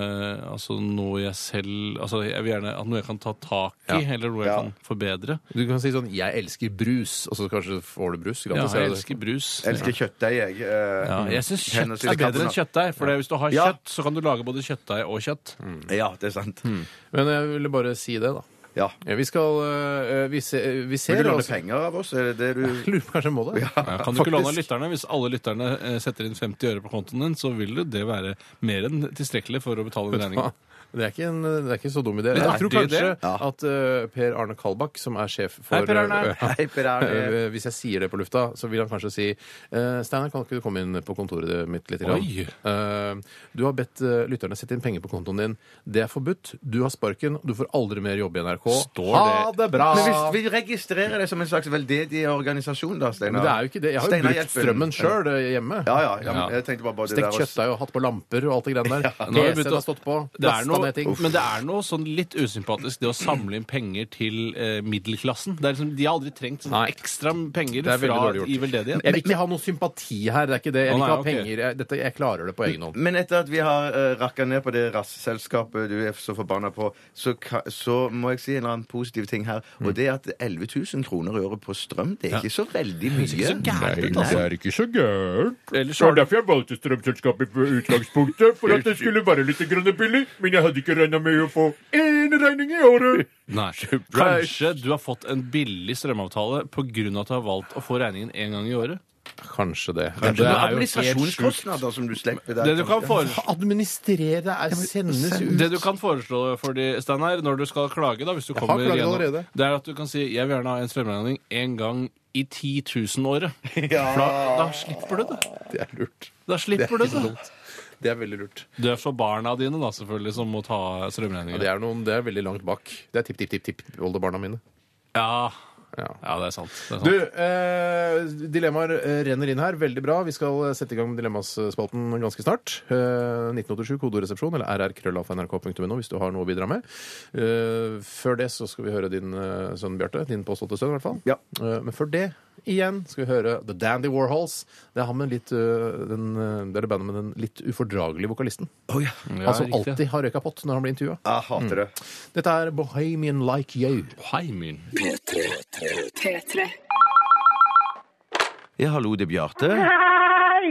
E: altså, noe jeg selv altså, Jeg vil gjerne at noe jeg kan ta tak i, eller noe jeg
D: Ja.
E: kan forbedre.
C: Du kan si sånn 'jeg elsker brus', og så kanskje får du brus
E: Ja,
C: gratis.
E: jeg
C: eller?
E: elsker brus.
D: Jeg elsker kjøttdeig, jeg. eh,
E: Ja, jeg syns
D: hennes-
E: kjøtt er bedre enn kjøttdeig. For hvis du har
D: Ja.
E: kjøtt, så kan du lage både kjøttdeig og kjøtt.
D: Ja, det er sant.
C: Men jeg ville bare si det, da.
D: Ja.
C: Ja, vi skal eh, Vi, se, vi ser
D: Vil du låne
C: altså-
D: penger av oss? Er det det du
C: Lurer på kanskje jeg må det.
E: Ja, kan du ikke låne av
C: Faktisk.
E: lytterne? Hvis alle lytterne eh, setter inn 50 øre på kontoen din, så vil jo det være mer enn tilstrekkelig for å betale den regningen.
C: Det er, ikke en, det er ikke en så dum idé.
E: Men
C: Jeg
E: er
C: tror
E: det
C: kanskje
E: det?
C: at eh, Per Arne Kalbakk, som er sjef for eh,
E: Hei, Per Arne.
C: Ja.
D: Hei, Per Arne.
C: Eh, Hvis jeg sier det på lufta, så vil han kanskje si eh, Steinar, kan ikke du komme inn på kontoret mitt litt? grann?
E: Oi.
C: Eh, Du har bedt eh, lytterne sette inn penger på kontoen din. Det er forbudt. Du har sparken. Du får aldri mer jobbe i NRK.
E: Står
C: ha det bra!
D: Men hvis vi registrerer det som en slags veldedig organisasjon, da, Steinar.
C: Men det er jo ikke det. Jeg har jo
D: Steinar
C: brukt
D: Gjerpen.
C: strømmen sjøl hjemme.
D: Ja, ja. ja
E: Ja.
D: men jeg tenkte bare både
C: Stekt
D: der og-
C: kjøttdeig og hatt på lamper og alt det greiene der.
E: Nå har jeg
C: PC-en
E: begynt å-
C: har stått på.
E: Det er
C: Lasta
E: noe,
C: ned ting.
E: men det er noe sånn litt usympatisk det å samle inn penger til eh, middelklassen. Det er liksom, de har aldri trengt sånn
C: Nei.
E: ekstra penger
C: Det er veldig
E: fra
C: dårlig gjort.
E: i veldedighet.
C: Jeg vil ikke ha noe sympati her. Det er ikke det. Jeg vil
E: Å,
C: ikke
E: nei,
C: ha
E: ok.
C: penger. Jeg, dette, jeg klarer det på egen hånd.
D: Men etter at vi har uh, rakka ned på det rasselskapet du er så forbanna på, så, ka, så må jeg si en eller annen positiv ting her. Og det er at 11 000 kroner i året på strøm, det er ikke så veldig mye.
E: ikke så gærent ut, altså.
C: er ikke så gærent.
E: Ellers så har du
F: derfor jeg valgte strømselskapet på utgangspunktet, for at det skulle være litt grann billig. Men jeg hadde ikke regna med å få én regning i året.
E: Nei. Kanskje du har fått en billig strømavtale pga. at du har valgt å få regningen én gang i året?
C: Kanskje det.
D: Det er
C: jo helt
D: administrasjonskostnader som du slipper der.
E: Det du kan foreslå
C: sjukt. Administrere er sendes ut.
E: Det du kan foreslå for de, Steinar, når du skal klage, da, hvis du
C: har
E: kommer
C: klaget
E: gjennom,
C: allerede.
E: det er at du kan si 'jeg vil gjerne ha en strømregning én gang i 10 000-året'. For da, da slipper du det.
C: Det er lurt.
E: Da slipper du det.
C: Det er veldig lurt.
E: Det er for barna dine, da, selvfølgelig, som må ta
C: Ja,
E: strømregninger.
C: det, er noen, det er veldig langt bak. Det er tipp-tipp-tipp-oldebarna mine.
E: Ja.
C: Ja.
E: ja, det er sant. Det er sant.
C: Du, eh, dilemmaer eh, renner inn her. Veldig bra. Vi skal eh, sette i gang med Dilemmaspalten ganske snart. Eh, 1987, kodoresepsjon eller rrkrøllalfa.nrk.no hvis du har noe å bidra med. Eh, før det så skal vi høre din eh, sønn Bjarte. Din påståtte sønn, i hvert fall.
D: Ja.
C: Eh, men før det igjen skal vi høre The Dandy Warhols. Det er, han med litt, eh, den, eh, det er det bandet med den litt ufordragelige vokalisten.
E: Ja,
C: han som
E: riktig.
C: alltid har røyka pott når han blir intervjua.
D: Jeg hater det.
C: Dette er Bohemian Like You.
E: Hei, min.
A: P3.
D: Ja, hallo, det er Bjarte.
G: Hei,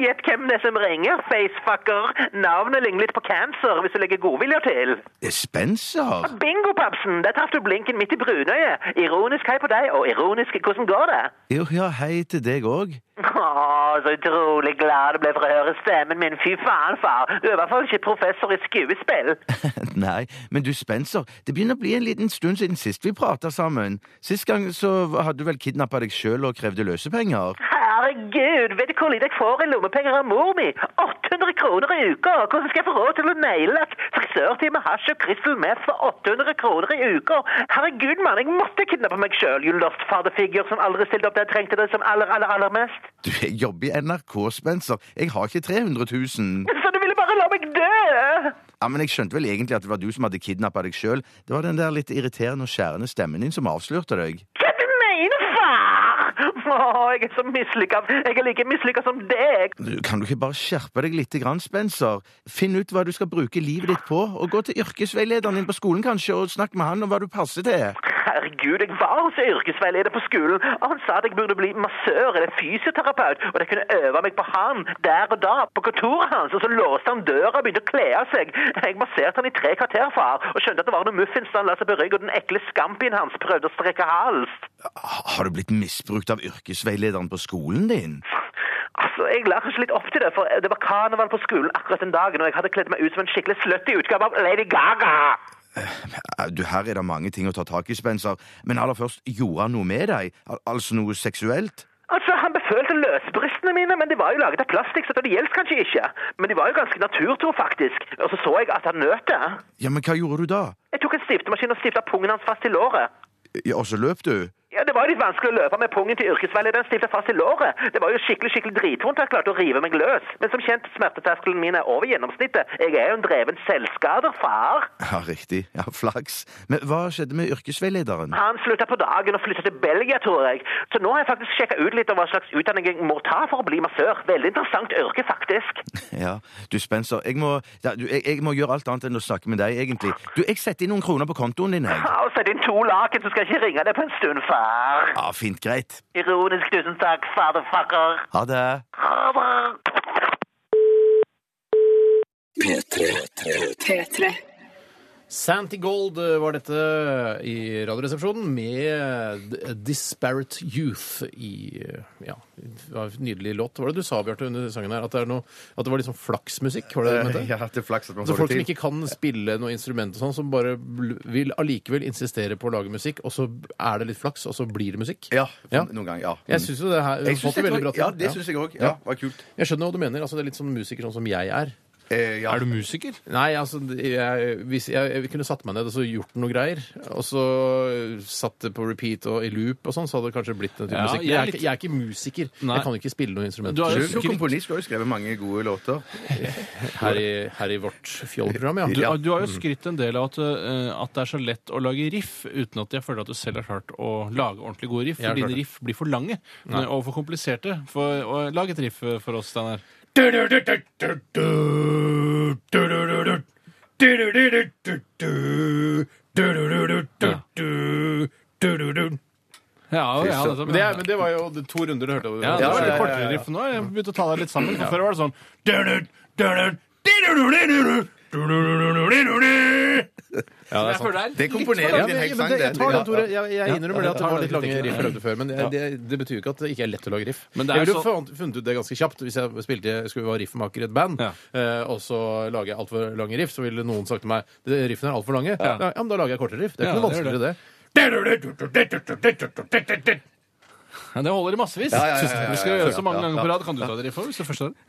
G: Gjett hvem det er som ringer, facefucker. Navnet ligner litt på cancer, hvis du legger godviljer til.
D: Det er Spencer.
G: Bingo, Papsen! Der traff du blinken midt i brunøyet. Ironisk hei på deg, og ironisk hvordan går det?
D: Jo, ja, hei til deg òg.
G: Å, så utrolig glad du ble for å høre stemmen min. Fy faen, far. Du er i hvert fall ikke professor i skuespill.
D: Nei, men du, Spencer, det begynner å bli en liten stund siden sist vi prata sammen. Sist gang så hadde du vel kidnappa deg sjøl og krevde løsepenger?
G: Herregud, vet du hvor lite jeg får i lommepenger av mor mi? 800 kroner i uka! Hvordan skal jeg få råd til å naile et frisørtime, hasj og crystal meth for 800 kroner i uka? Herregud, mann, jeg måtte kidnappe meg sjøl, you lost father figure som aldri stilte opp da jeg trengte det som aller, aller, aller mest.
D: Du, jeg jobber i NRK, Spencer. Jeg har ikke 300 000.
G: Så du ville bare la meg dø?
D: Ja, men jeg skjønte vel egentlig at det var du som hadde kidnappa deg sjøl. Det var den der litt irriterende og skjærende stemmen din som avslørte deg.
G: Hva du mener, far? Åh, jeg er så mislykka. Jeg er like mislykka som deg.
D: Du, Kan du ikke bare skjerpe deg litt, grann, Spencer? Finn ut hva du skal bruke livet ditt på, og gå til yrkesveilederen din på skolen, kanskje, og snakk med han om hva du passer til.
G: Herregud, jeg var hos yrkesveileder på skolen, og han sa at jeg burde bli massør eller fysioterapeut, og det kunne øve meg på han der og da, på kontoret hans, og så låste han døra og begynte å kle av seg. Jeg masserte han i tre kvarter, far, og skjønte at det var noe muffins da han la seg på rygg, og den ekle skampien hans prøvde å strekke hals.
D: Har du blitt misbrukt av yrkesveilederen på skolen din?
G: Altså, Jeg la kanskje litt opp til det, for det var karneval på skolen akkurat den dagen, og jeg hadde kledd meg ut som en skikkelig slutty utgave av Lady Gaga.
D: Eh, Du, Her er det mange ting å ta tak i, Spencer, men aller først, gjorde han noe med deg? Al altså noe seksuelt?
G: Altså, Han befølte løsbrystene mine, men de var jo laget av plastikk, så det gjelder kanskje ikke. Men de var jo ganske naturtro, faktisk. Og så så jeg at han nøt det.
D: Ja, men hva gjorde du da?
G: Jeg tok en stiftemaskin og stifta pungen hans fast til låret.
D: Ja, og så løp du?
G: Ja, Det var jo litt vanskelig å løpe med pungen til yrkesveilederen stifta fast i låret. Det var jo skikkelig skikkelig dritvondt at jeg klarte å rive meg løs. Men som kjent, smerteterskelen min er over gjennomsnittet. Jeg er jo en dreven selvskader, far.
D: Ja, riktig. Ja, Flaks. Men hva skjedde med yrkesveilederen?
G: Han slutta på dagen og flytta til Belgia, tror jeg. Så nå har jeg faktisk sjekka ut litt om hva slags utdanning jeg må ta for å bli massør. Veldig interessant yrke, faktisk.
D: Ja, Du, Spencer, jeg må, ja, du, jeg, jeg må gjøre alt annet enn å snakke med deg, egentlig. Du, Jeg setter inn noen kroner på kontoen din. jeg.
G: Ja, og Sett inn to laken, så skal jeg ikke ringe deg på en stund, far.
D: Ja, Fint, greit.
G: Ironisk tusen takk, faderfucker.
D: Ha det.
G: Ha det.
B: P3.
A: P3.
C: Santi Gold eh, var dette i Radioresepsjonen med D- Disparate Youth i eh, Ja, det var en nydelig låt. Hva var det du sa, Bjarte, under sangen her? At det, er noe, at det var litt sånn flaksmusikk? Var det det du mente?
D: Eh, Ja, det er flaks at man
C: Så
D: får
C: folk som
D: det til.
C: ikke kan spille noe instrument og sånn, som bare bl- vil allikevel insistere på å lage musikk, og så er det litt flaks, og så blir det musikk?
D: Ja,
C: Ja.
D: noen ganger. ja.
C: Jeg syns jo det her
D: Eh, Jeg synes
C: fått det veldig bra
D: var-
C: til.
D: Ja, det syns jeg òg. Ja, var kult.
C: Jeg skjønner hva du mener. altså Det er litt sånn musiker sånn som jeg er.
D: Eh, ja.
E: Er du musiker?
C: Nei, altså jeg, hvis jeg, jeg kunne satt meg ned og så gjort noe greier, og så satt det på repeat og i loop og sånn, så hadde det kanskje blitt en type
E: Ja,
C: musikk. Men
E: jeg
C: jeg
E: er
C: er,
E: litt-
C: ikke, jeg er ikke musiker.
E: Nei.
C: Jeg kan ikke spille noe instrument
E: Du har jo
C: selv
D: Du er komponist og har jo skrevet mange gode låter.
C: her, i, her i vårt fjolprogram, ja. Mm.
E: Du,
D: Ja.
E: du har jo skrytt en del av at, eh, at det er så lett å lage riff uten at jeg føler at du selv har klart å lage ordentlig gode riff.
C: Jeg har
E: For dine
C: klart det.
E: riff blir for lange og for kompliserte. For, og, lag et riff eh, for oss, Steinar. Ja, ja, nettopp,
C: Men det,
E: ja.
C: er- men det var jo to runder du hørte.
E: Ja, det var
C: ja,
E: litt
C: ja,
E: kortere
C: ja.
E: riff nå. Jeg begynte å ta deg litt sammen. For før var det sånn
C: Ja, det er sant.
D: Det komponerer din egen sang,
C: det, jeg, tar den, Tore.
D: det.
C: Jeg, jeg innrømmer det at det
E: Ja,
C: var litt
E: det er
C: lange
E: riktig.
C: riff jeg lagde før, men det, det, det betyr jo ikke at det ikke er lett å lage riff.
E: Men det er
C: jeg ville
E: så-
C: jo fant- funnet ut det ganske kjapt hvis jeg spilte, skulle være riffmaker i et band,
E: Ja.
C: eh, og så lager jeg altfor lange riff, så ville noen sagt til meg det riffene er altfor lange. Ja. ja, men da lager jeg kortere riff. Det er
E: Ja,
C: ikke noe
E: det gjør
C: vanskeligere det.
E: Ja, det holder i massevis.
D: Ja, ja, ja, ja, ja, ja.
E: Vi skal gjøre det så mange
D: Ja, ja.
E: ganger på rad. Kan du ta det riffet? Hvis du først har det?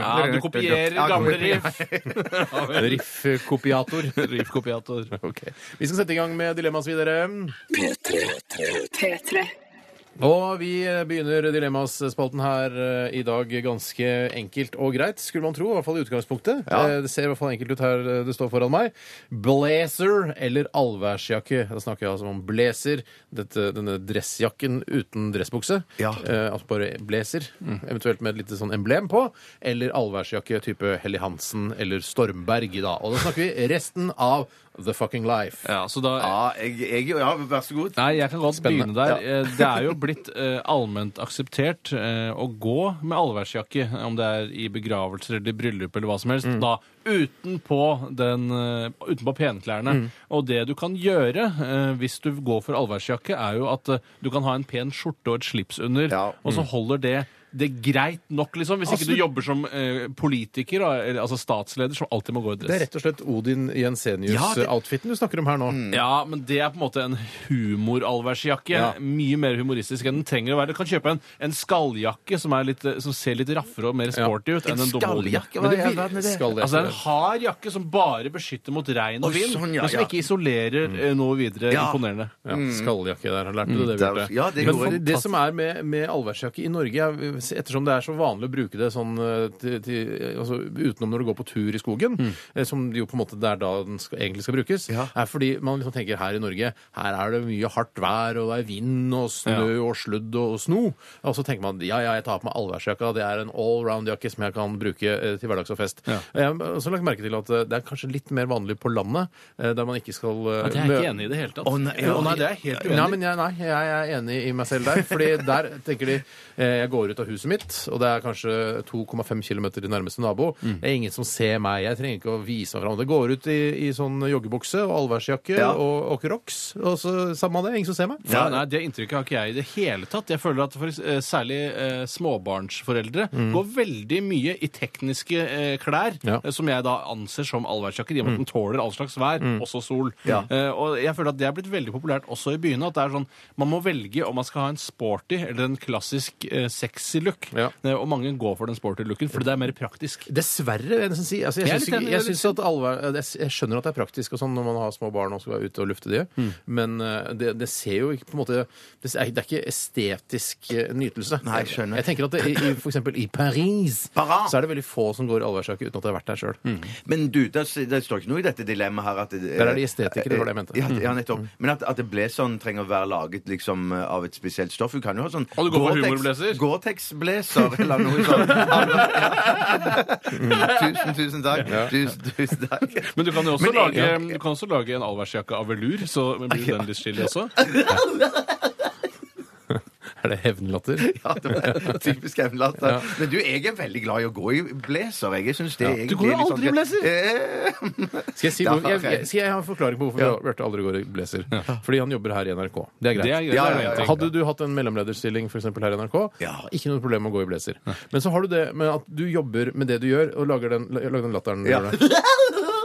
D: Ja,
E: Ja, du kopierer gamle riff.
C: Riffkopiator.
E: Riffkopiator.
C: Ok. Vi skal sette i gang med dilemmaet, vi, dere.
A: P3.
C: Og vi begynner Dilemmas-spalten her eh, i dag ganske enkelt og greit, skulle man tro. I hvert fall i utgangspunktet. Eh, Det ser i hvert fall enkelt ut her eh, det står foran meg. Blazer eller allværsjakke. Da snakker jeg altså om blazer, dette, denne dressjakken uten dressbukse.
D: Ja.
C: Eh, altså bare blazer,
D: Mm.
C: eventuelt med et lite sånn emblem på. Eller allværsjakke type Helly Hansen eller Stormberg i dag. Og da snakker vi resten av The Fucking Life.
E: Ja, så da...
D: jeg, jeg, ja, vær så god.
E: Nei, jeg kan godt
C: Spennende.
E: begynne der. Eh, Det er jo blitt eh, allment akseptert eh, å gå med allværsjakke, om det er i begravelser eller bryllup eller hva som
C: Mm.
E: helst, da utenpå, den, eh, utenpå penklærne.
C: Mm.
E: Og det du kan gjøre eh, hvis du går for allværsjakke, er jo at eh, du kan ha en pen skjorte og et slips under,
D: Ja.
C: Mm.
E: og så holder det det er greit nok, liksom, hvis ikke du jobber som eh, politiker, da, eller, altså statsleder, som alltid må gå i dress.
C: Det er rett og slett Odin
E: Ja, det-
C: Jensenius-outfiten du snakker om her nå.
D: Mm.
E: Ja, men det er på en måte en humorallværsjakke.
C: Ja.
E: Mye mer humoristisk enn den trenger å være. Du kan kjøpe en, en skalljakke som, er litt, eh, som ser litt raffere og mer sporty ut enn en dumme
D: Skalljakke,
E: hodejakke.
D: hva
C: Men det
D: er det med det?
C: skal det.
E: Altså, det er en hard jakke som bare beskytter mot regn og
D: Oi,
E: vind,
D: sånn, ja,
E: men som
D: ja.
E: ikke isolerer eh, noe videre
D: Ja.
E: imponerende.
C: Ja, skalljakke der. Lærte du det?
D: Der-
C: Bjarte?
D: ja, det
C: Men
D: gjorde
C: for,
D: jeg.
C: det som er med, med allværsjakke i Norge, er, ettersom det er så vanlig å bruke det sånn eh, til, til, altså, utenom når du går på tur i skogen, eh, som jo på en måte det er da den skal, egentlig skal brukes,
D: Ja.
C: er fordi man liksom tenker her i Norge her er det mye hardt vær, og det er vind og snø og sludd og sno. Og så tenker man ja, ja, jeg tar på meg allværsjakka, det er en allround-jakke som jeg kan bruke eh, til hverdags og fest. Jeg har også lagt merke til at eh, det er kanskje litt mer vanlig på landet, eh, der man ikke skal eh,
E: Det er jeg ikke enig i det hele tatt.
D: Å, nei, ja.
E: Å, nei, det er jeg helt uenig.
C: Nei, men jeg, nei, jeg er enig i meg selv der. Fordi der tenker de eh, jeg går ut av huset mitt, og det er kanskje 2,5 km til nærmeste nabo.
E: Mm.
C: Det er ingen som ser meg. Jeg trenger ikke å vise meg fram. Det går ut i, i sånn joggebukse og allværsjakke
D: Ja.
C: og, og Crocs, og så samme av det. Ingen som ser meg.
E: Ja, nei, Det inntrykket har ikke jeg i det hele tatt. Jeg føler at for, eks- eh, Særlig eh, småbarnsforeldre går veldig mye i tekniske eh, klær,
C: Ja.
E: eh, som jeg da anser som allværsjakker, i og med at den tåler all slags vær, også sol. Eh, og jeg føler at det er blitt veldig populært også i byene. at det er sånn, Man må velge om man skal ha en sporty eller en klassisk eh, sexy sporty look.
C: Ja.
E: Eh, Og mange går for den sporty looken, for det er mer praktisk.
C: Dessverre, vil jeg nesten si. Altså, jeg,
E: Jeg er
C: syns
E: litt
C: ikke,
E: enig,
C: jeg,
E: jeg er litt
C: syns at alvor, jeg jeg skjønner at det er praktisk og sånn når man har små barn og skal være ute og lufte de, men eh, det, det ser jo ikke på en måte Det er, det er ikke estetisk eh, nytelse.
D: Nei, jeg skjønner.
C: Jeg tenker at det, i, i, for eksempel i Paris
D: Paris.
C: så er det veldig få som går allværsjakke uten at de har vært der sjøl.
D: Men du, det, det står ikke noe i dette dilemmaet her at det,
C: Der er de estetikere, det var det jeg mente. Mm.
D: Ja, ja nettopp. Men at, at det ble sånn, trenger å være laget liksom av et spesielt stoff. Du kan jo ha sånn
E: Og du går for
D: Gore-Tex-
E: humorblazer?
D: Gore-Tex-blazer eller noe sånt. Mm, tusen, tusen takk. Tusen, tusen takk.
E: Men du kan jo også,
D: Men en
E: lage, du kan også lage en allværsjakke av velur, så blir jo den litt chili også.
C: Er det hevnlatter?
D: Ja, det var typisk Evnlatter. Men du, jeg er veldig glad i å gå i blazer. Jeg synes det
E: Du går jo aldri
D: sånn
E: i blazer!
D: Eh,
C: Skal jeg, si,
D: Da
C: hvor- jeg,
D: har jeg-
C: jeg, skal jeg ha en forklaring på hvorfor Bjarte aldri går i blazer? Fordi han jobber her i NRK. Det er greit.
E: Det er greit.
D: Ja,
E: det er
D: ja,
E: en
D: ja.
E: ting.
C: Hadde du hatt en mellomlederstilling for eksempel, her i NRK, ikke noe problem med å gå i blazer. Men så har du det med at du jobber med det du gjør, og lager den, lager den latteren. du
D: Ja.
C: gjør det.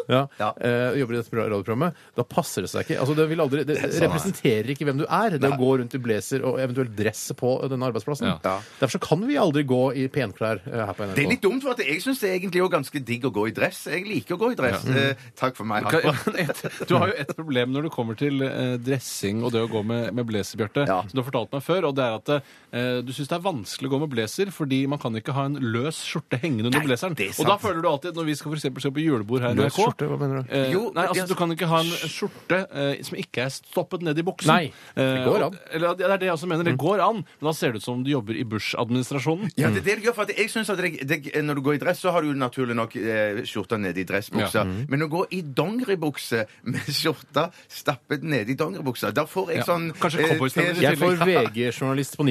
C: Ja.
D: Ja.
C: Eh, jobber i dette radioprogrammet. Da passer det seg ikke. Altså, det, vil aldri, det
D: er sånn,
C: representerer ikke hvem du er, det å gå rundt i blazer og eventuelt dress på denne arbeidsplassen.
E: Ja.
D: Ja.
C: Derfor så kan vi aldri gå i penklær eh, her på NRK.
D: Det er litt dumt, for at jeg syns det er egentlig også ganske digg å gå i dress. Jeg liker å gå i dress. Eh, Takk for meg.
E: Kan- men et- Du har jo et problem når det kommer til eh, dressing og det å gå med, med blazer, Bjarte.
D: Ja.
E: Som du har fortalt meg før, og det er at eh, du syns det er vanskelig å gå med blazer fordi man kan ikke ha en løs skjorte hengende under blazeren.
D: det er sant.
E: Og da føler du alltid, når vi skal for eksempel se på julebord her i
C: Løs
E: NRK
C: skjorte, hva mener du?
E: eh,
D: Jo,
E: nei,
D: jeg-
E: altså Du kan ikke ha en skjorte eh, som ikke er stoppet ned i buksen.
C: Nei, det
E: Eh,
C: går
E: og-
C: an.
E: Eller, det er det jeg også mener. Det går an, men da ser det ut som du jobber i Bush-administrasjonen.
D: Ja, det er det du gjør, for at jeg synes at det, det, Når du går i dress, så har du jo naturlig nok eh, skjorta nede i dressbuksa.
E: Mm.
D: Men å gå i dongeribukse med skjorta stappet nede i dongeribuksa, der får jeg
E: Ja.
D: sånn
E: Kanskje
D: eh,
E: cowboystemmer i
D: te-
C: Jeg får VG-journalist på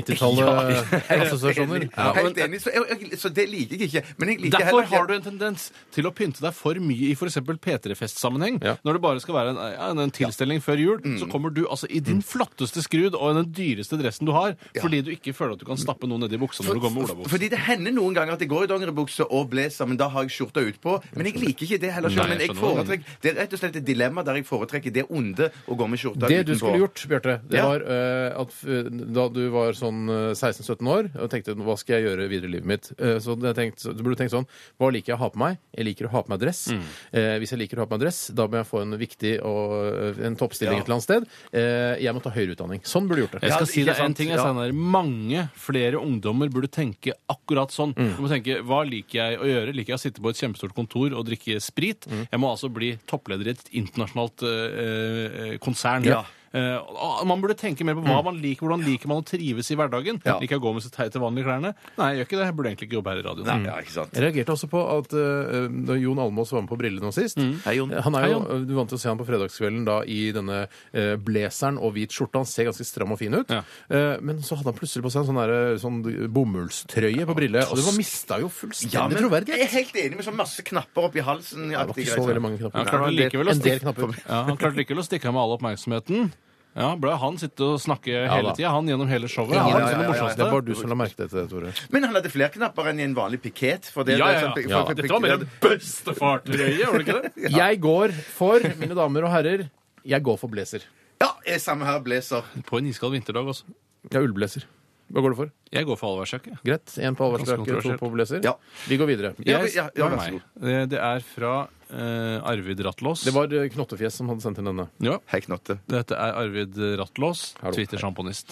E: altså,
C: 90-tallet-assosiasjoner.
D: Ja, Helt enig. Så, jeg, jeg, så det liker jeg ikke. Men jeg liker
E: Derfor har du en tendens til å pynte deg for mye i f.eks. P3-festsammenheng.
C: Ja.
E: Når det bare skal være en, ja, en tilstelning før jul, så kommer du altså i din flotteste skrud og den dyreste dressen du har, fordi du ikke føler at du kan stappe noe nedi buksa når du går med olabukse.
D: Fordi det hender noen ganger at jeg går i dongeribukse og blazer, men da har jeg skjorta utpå. Men jeg liker ikke det heller. selv,
E: Nei,
D: men jeg
E: jeg skjønner hva du
D: foretrekker, det er rett og slett et dilemma der jeg foretrekker det onde å gå med skjorta
C: Det
D: utenpå.
C: du skulle gjort, Bjarte, det
D: Ja.
C: var eh, at eh, da du var sånn eh, 16-17 år og tenkte hva skal jeg gjøre videre i livet mitt, Eh, så det jeg tenkte- så du burde tenkt sånn Hva liker jeg å ha på meg? Jeg liker å ha på meg dress. Eh, hvis jeg liker å ha på meg dress, da må jeg få en viktig og eh, en toppstilling et eller annet sted. Eh, jeg må ta høyere utdanning. Sånn burde du gjort det.
E: Jeg skal
D: Ja,
E: si deg
D: ikke
E: en
D: sant?
E: ting. Jeg
D: Ja.
E: Steinar. mange flere ungdommer burde tenke akkurat sånn.
D: Mm.
E: Du må tenke hva liker jeg å gjøre? Liker jeg å sitte på et kjempestort kontor og drikke sprit?
D: Mm.
E: Jeg må altså bli toppleder i et internasjonalt eh, eh, konsern.
D: Ja. Mm.
E: Eh, og man burde tenke mer på hva man liker, hvordan liker man å trives i hverdagen. Liker jeg å gå med så teite vanlige klærne? Nei, jeg gjør ikke det. Jeg burde egentlig ikke jobbe her i radioen.
D: Ja, ikke sant?
C: Jeg reagerte også på at eh, da Jon Almaas var med på Brillene nå sist Eh,
D: Hei, Jon.
C: Han er
E: Mm. Hei,
C: jo, Du vant til å se han på fredagskvelden da i denne eh, blazeren og hvit skjorte. Han ser ganske stram og fin ut.
E: Ja.
C: Eh, men så hadde han plutselig på seg en sånn, der, sånn bomullstrøye på brille, og det var mista jo fullstendig
D: Ja, men jeg
C: troverdighet.
D: er helt enig med sånn masse knapper oppi halsen.
C: Det var ikke så veldig mange knapper.
E: Ja, klart
C: en,
E: likevel
C: del,
E: å
C: en del
E: stikke-
C: knapper.
E: Ja, han klarte likevel å stikke av med all oppmerksomheten. Ja, ble han sitte og snakke hele
C: da.
E: tida, han gjennom hele showet.
C: Ja,
E: Han
D: ja,
E: var
D: ja,
E: liksom
D: ja,
E: det
D: ja.
E: morsomste.
C: Det er bare du som la merke til det, Tore.
D: Men han hadde flere knapper enn i en vanlig piket. For det,
E: Ja, ja, ja.
D: det er sånn-
E: ja.
D: for- for-
E: Dette var mer en bestefartrøye, var det ikke det?
C: Jeg går for, mine damer og herrer, jeg går for blazer.
D: Ja, jeg er samme her, blazer.
E: På en iskald vinterdag også.
C: Ja, ullblazer. Hva går du for?
E: Jeg går for allværsjakke.
C: Greit. Én på allværsdrakke,
E: Ganske
C: to på blazer.
D: Ja.
C: Vi går videre.
D: Ja,
E: Jeg-
D: ja, ja,
E: det var
D: vær så
E: meg. Eh, Det er fra eh, Arvid Rattlås.
C: Det var eh, Knottefjes som hadde sendt inn denne.
E: ja.
D: Hei, Knotte.
E: Dette er Arvid Rattlås,
C: Hallo.
E: Twitter-sjamponist.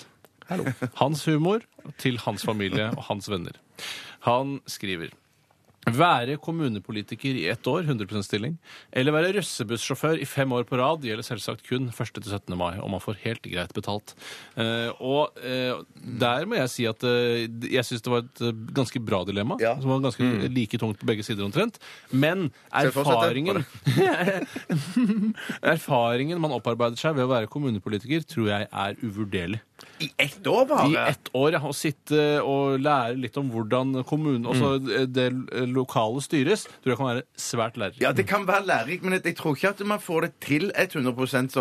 E: Hans humor til hans familie og hans venner. Han skriver være kommunepolitiker i ett år, 100 stilling, eller være russebussjåfør i fem år på rad gjelder selvsagt kun 1. til 17. mai, og man får helt greit betalt. Eh, og eh, der må jeg si at eh, jeg syns det var et eh, ganske bra dilemma,
D: Ja.
E: som var ganske like tungt på begge sider omtrent. Men
D: jeg fortsette?
E: erfaringen Erfaringen man opparbeider seg ved å være kommunepolitiker, tror jeg er uvurderlig.
D: I ett år,
E: I
D: bare?
E: ett år, ja. Å sitte og lære litt om hvordan kommunen,
D: Mm.
E: også det lokale styres, tror jeg kan være svært lærerikt.
D: Ja, det kan være lærerikt, men jeg tror ikke at man får det til 100 som eh,
C: Hva er det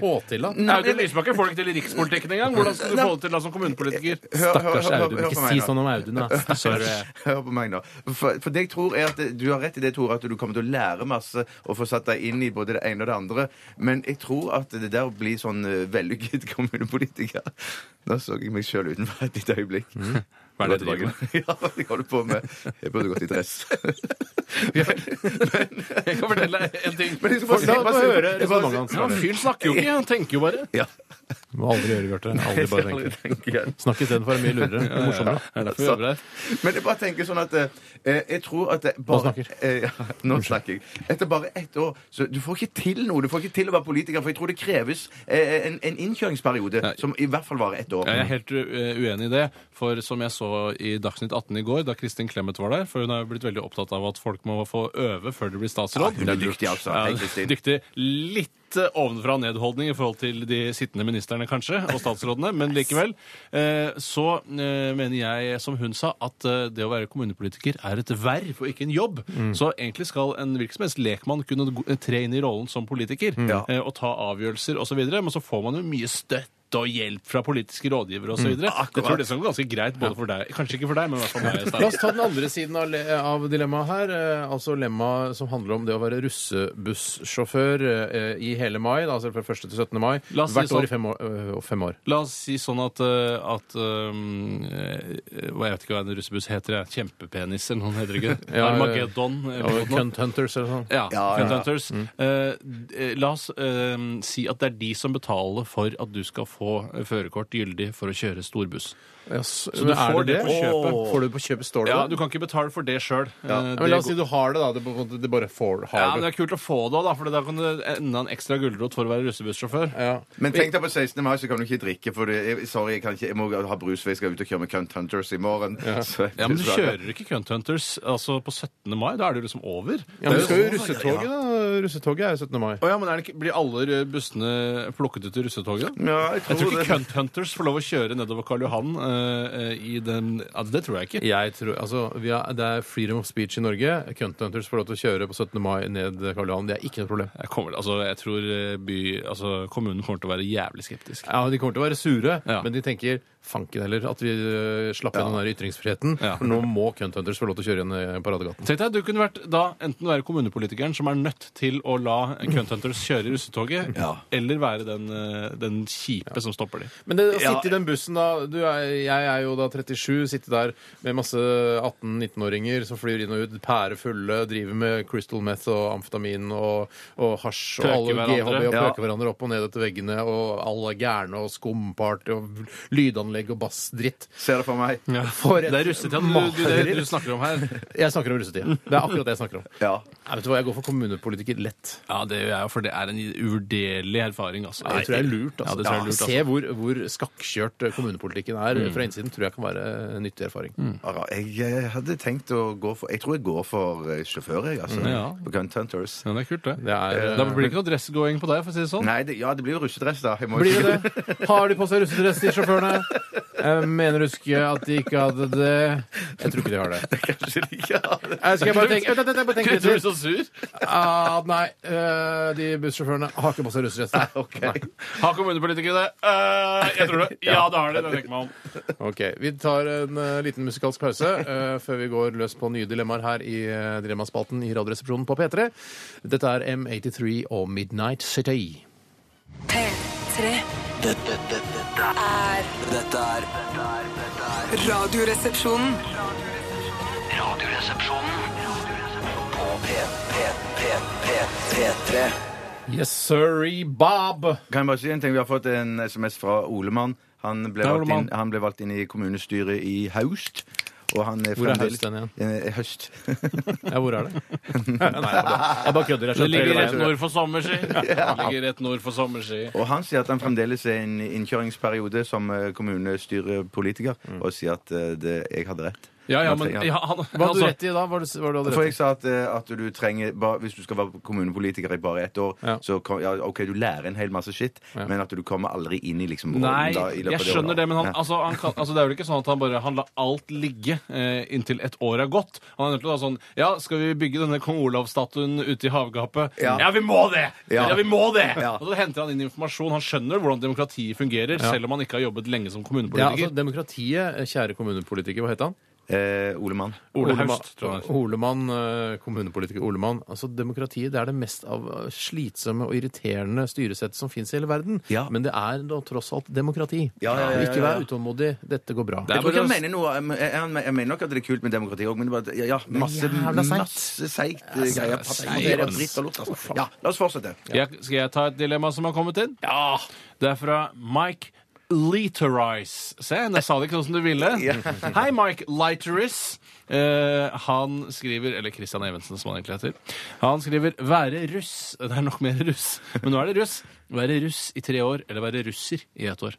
C: å få til, da?
D: Nei,
E: Audun Lysbakken får det liksom- ikke til i rikspolitikken engang. Hvordan skal du få det til da som kommunepolitiker?
D: Hør- hør- hør- hør- hør på meg nå.
C: sånn om Audun, da.
D: Hør på meg nå. For, for det jeg tror er at det- Du har rett i det, Tore, at du kommer til å lære masse og få satt deg inn i både det ene og det andre. Men jeg tror at det der å bli sånn eh, vellykket kommunepolitiker Da så jeg meg sjøl utenfor et lite øyeblikk.
E: Hva er det du driver med?
D: Ja, jeg holder på med Jeg burde gått i dress. men,
E: Jeg kan fortelle deg en ting.
D: Men liksom, bare-
C: La oss
D: bare-
C: høre
D: bare-
C: resonnementet hans.
E: Ja, Fyren snakker jo ikke, han tenker jo bare.
D: Ja.
C: Må aldri gjøre, Bjarte. Aldri bare tenke.
D: tenke.
C: Snakk istedenfor er mye lurere og morsommere.
E: Det er derfor vi øver her.
D: Men jeg bare tenker sånn at eh, jeg tror at det
C: Nå
D: bare,
C: snakker.
D: Eh, ja, nå snakker jeg. Etter bare ett år så Du får ikke til noe. Du får ikke til å være politiker, for jeg tror det kreves eh, en, en innkjøringsperiode
E: Nei.
D: som i hvert fall varer ett år.
E: Ja, Jeg er helt eh, uenig i det, for som jeg så i Dagsnytt 18 i går, da Kristin Clemet var der, for hun har jo blitt veldig opptatt av at folk må få øve før de blir statsråd.
D: Ja, hun er dyktig, altså.
E: Ja,
D: Hei, Kristin.
E: dyktig. Litt eh, ovenfra og nedholdning i forhold til de sittende ministerne, kanskje, og statsrådene, men likevel. eh, Så eh, mener jeg, som hun sa, at eh, det å være kommunepolitiker er et verv og ikke en jobb. Så egentlig skal en virksomhetslekmann kunne gå- eh, tre inn i rollen som politiker
D: Ja.
E: eh, og ta avgjørelser osv., men så får man jo mye støtt og hjelp fra politiske rådgivere osv. videre Jeg tror det skal gå ganske greit både for deg Kanskje ikke for deg, men i hvert fall meg.
C: La
E: Stein.
C: oss ta den andre siden av, le- av dilemmaet her. eh, Altså lemmaet som handler om det å være russebussjåfør eh, i hele mai. Da, altså fra 1. til 17. mai.
E: La oss si
C: Hvert år
E: sånn-
C: i fem år. øh, og fem år.
E: La oss si sånn at, eh, at um, eh, hva- Jeg vet ikke hva en russebuss heter. Jeg. Kjempepenis eller noe heter det ikke? det?
C: Ja, ja.
E: Armageddon. eller noe
C: Og
E: sånt.
C: Cunt Mm. Hunters eller sånn.
E: Ja,
D: Ja,
E: Fun
D: ja.
E: Hunters. Eh, d- eh, la oss eh, si at det er de som betaler for at du skal få eh, førerkort gyldig for å kjøre storbuss.
C: Ja, så,
E: du
C: men er
E: får det på kjøpet.
C: Åh. Får du på kjøpet, står det
E: Ja,
C: der?
E: Du kan ikke betale for Eh, det sjøl.
C: Ja, men la oss si du har det, da. Du, på en måte- du bare får har
E: ja, men
C: det.
E: det er kult å få det òg, da, for da kan du enda en ekstra gulrot for å være russebussjåfør.
C: Ja.
D: Men tenk deg på 16. mai, så kan du ikke drikke. For det, jeg, sorry, jeg, kan ikke, jeg må ha brus, for jeg skal ut og kjøre med Cunt Hunters i morgen. Så-
E: Ja, Men du kjører ikke Cunt Hunters altså på 17. mai. Da er det jo liksom over.
C: Ja, men du skal jo i russetoget, da. Russetoget er jo 17. mai.
E: Å ja, men er det ikke, Blir alle bussene plukket ut i russetoget?
D: Ja, jeg
E: Jeg
D: tror,
E: tror ikke
D: det.
E: Cunt Hunters får lov å kjøre nedover Karl Johan eh, eh, i den ja, Det tror jeg ikke.
C: Jeg tror, altså, vi har, Det er freedom of speech i Norge. Cunt Hunters får lov til å kjøre på 17. mai ned Karl Johan. Det er ikke noe problem.
E: Jeg, kommer, altså, jeg tror eh, by, altså, kommunen kommer til å være jævlig skeptisk.
C: Ja, De kommer til å være sure,
E: Ja.
C: men de tenker fanken heller at vi øh, slapper gjennom den der ytringsfriheten.
E: Ja.
C: For nå må Cunt Hunters få lov til å kjøre igjen eh, Paradegaten.
E: Tenk deg, Du kunne vært da enten være kommunepolitikeren som er nødt til å la Cunt Hunters kjøre i russetoget, eller være den, eh, den kjipe som stopper dem.
C: Men det å sitte i den bussen, da du er, Jeg er jo da 37, sitte der med masse 18-19-åringer som flyr inn og ut, pærefulle, driver med crystal meth og amfetamin og, og hasj og
E: Pøker
C: alle
E: hverandre.
C: GHB og
E: Ja.
C: pøker hverandre opp og ned etter veggene, og alle er gærne og skumparty og lydanlegg og bassdritt.
D: Ser det for meg.
C: For et
E: Det er russetida du, du, det du snakker om her.
C: Jeg snakker om russetida. Det er akkurat det jeg snakker om.
D: Ja.
C: Nei, vet du hva, Jeg går for kommunepolitiker lett.
E: Ja, det gjør jeg, for det er en uvurderlig erfaring. altså.
C: Det tror jeg er lurt. Altså. Mm.
E: Ja, det tror jeg er lurt, altså.
C: Se hvor, hvor skakkjørt eh, kommunepolitikken er fra innsiden. tror jeg kan være en nyttig erfaring.
D: Ja, Jeg, eh, hadde tenkt å gå for Jeg tror jeg går for eh, sjåfør, jeg, altså.
E: Ja.
D: På Cunt Hunters.
E: Ja, det er kult, det.
C: Eh, Det er,
E: Da blir det ikke noe dressgåing på deg, for å si det sånn.
D: Nei, det, ja, det blir jo russedress, da. Jeg må jo
C: Blir
D: ikke-
C: det det? Har de på seg russedress, de sjåførene? Jeg mener å huske at de ikke hadde det. Jeg tror ikke de har det.
D: Kanskje de ikke har det.
C: Jeg skal bare tenke, vent, vent, jeg bare tenker
E: Tror du
C: litt
E: så sur?
C: til. Ah, nei, eh, de bussjåførene har ikke på seg russedress. Nei.
D: Ok.
E: Har kommunepolitikere det? Eh, jeg tror det. Ja, det har de. Det tenker jeg meg om.
C: Ok, Vi tar en eh, liten musikalsk pause eh, før vi går løs på nye dilemmaer her i eh, Dilemmaspalten i Radioresepsjonen på P3. Dette er M83 og Midnight City.
A: P3
B: Dette, dette, dette,
A: er
B: dette er dette er- dette er
A: Radioresepsjonen.
B: Radioresepsjonen på P, P, P, P, P3.
C: Yes, sorry, Bob!
D: Kan jeg bare si en ting? Vi har fått en SMS fra Olemann. Han ble,
E: Hei,
D: valgt inn,
E: Olemann.
D: han ble valgt inn i kommunestyret i Haust. Og han er
C: Hvor er
D: fremdeles-
C: Haust den igjen?
D: Eh, Høst.
C: Ja, hvor er det? Nei, jeg bare jeg bare kødder. Jeg
E: Det
C: skjønte
E: ligger
C: hele
E: rett
C: veien.
E: nord for sommerski. Det ligger rett nord for sommerski.
D: Og han sier at han fremdeles er i en innkjøringsperiode som eh, kommunestyrepolitiker, og sier at eh, det, jeg hadde rett.
E: Ja, ja,
D: Man
E: men
D: trenger-
E: ja, han,
C: Hva hadde du
E: altså-
C: rett i da? Hva hadde- hva hadde du rett
D: For
C: i?
D: jeg sa at, eh, at du trenger bare, Hvis du skal være kommunepolitiker i bare ett år,
C: Ja.
D: så kan, ja, OK, du lærer en hel masse skitt, men at du kommer aldri inn i liksom
E: Nei,
D: rollen da i løpet
E: jeg
D: av
E: skjønner
D: året.
E: det, men han,
D: Ja.
E: altså, han kan, altså, det er vel ikke sånn at han bare han lar alt ligge eh, inntil et år er gått. Han er nødt til å ha sånn Ja, skal vi bygge denne kong Olav-statuen ute i havgapet? Ja.
D: Ja.
E: vi må det! Ja,
D: Ja.
E: vi må det!
D: Ja.
E: Og så henter han inn informasjon. Han skjønner hvordan demokratiet fungerer, selv om han ikke har jobbet lenge som
C: Ja, altså,
E: kommunepolitiker.
C: demokratiet, kjære kommunepolitiker, hva het han?
D: Eh, Ole Mann.
E: Ole
C: Olema-
E: Haust, tror jeg. det er.
C: Olemann, eh, kommunepolitiker Olemann. Altså, demokratiet det er det mest av eh, slitsomme og irriterende styresett som fins i hele verden.
D: Ja.
C: Men det er da tross alt demokrati.
D: Ja, ja, ja, ja,
C: Ikke
D: ja.
C: vær utålmodig. Dette går bra.
E: Det er
D: Jeg tror ikke
E: bare
D: han
E: å-
D: mener noe jeg, jeg, jeg mener nok at det er kult med demokrati òg, men det er bare, ja, ja, masse
C: jævla seigt.
D: masse seigt eh, greier. Papir,
E: seigt,
D: det er
E: ass.
D: dritt og lort, altså. Ja, la oss fortsette.
E: Jeg, skal jeg ta et dilemma som har kommet inn? Ja! Det er fra Mike Literice. Se, jeg sa det ikke sånn som du ville. Hei, Mike Literice. Eh, han skriver Eller Christian Evensen, som han egentlig heter. Han skriver 'være russ'. Det er nok mer russ, men nå er det russ. Være russ i tre år eller være russer i ett år.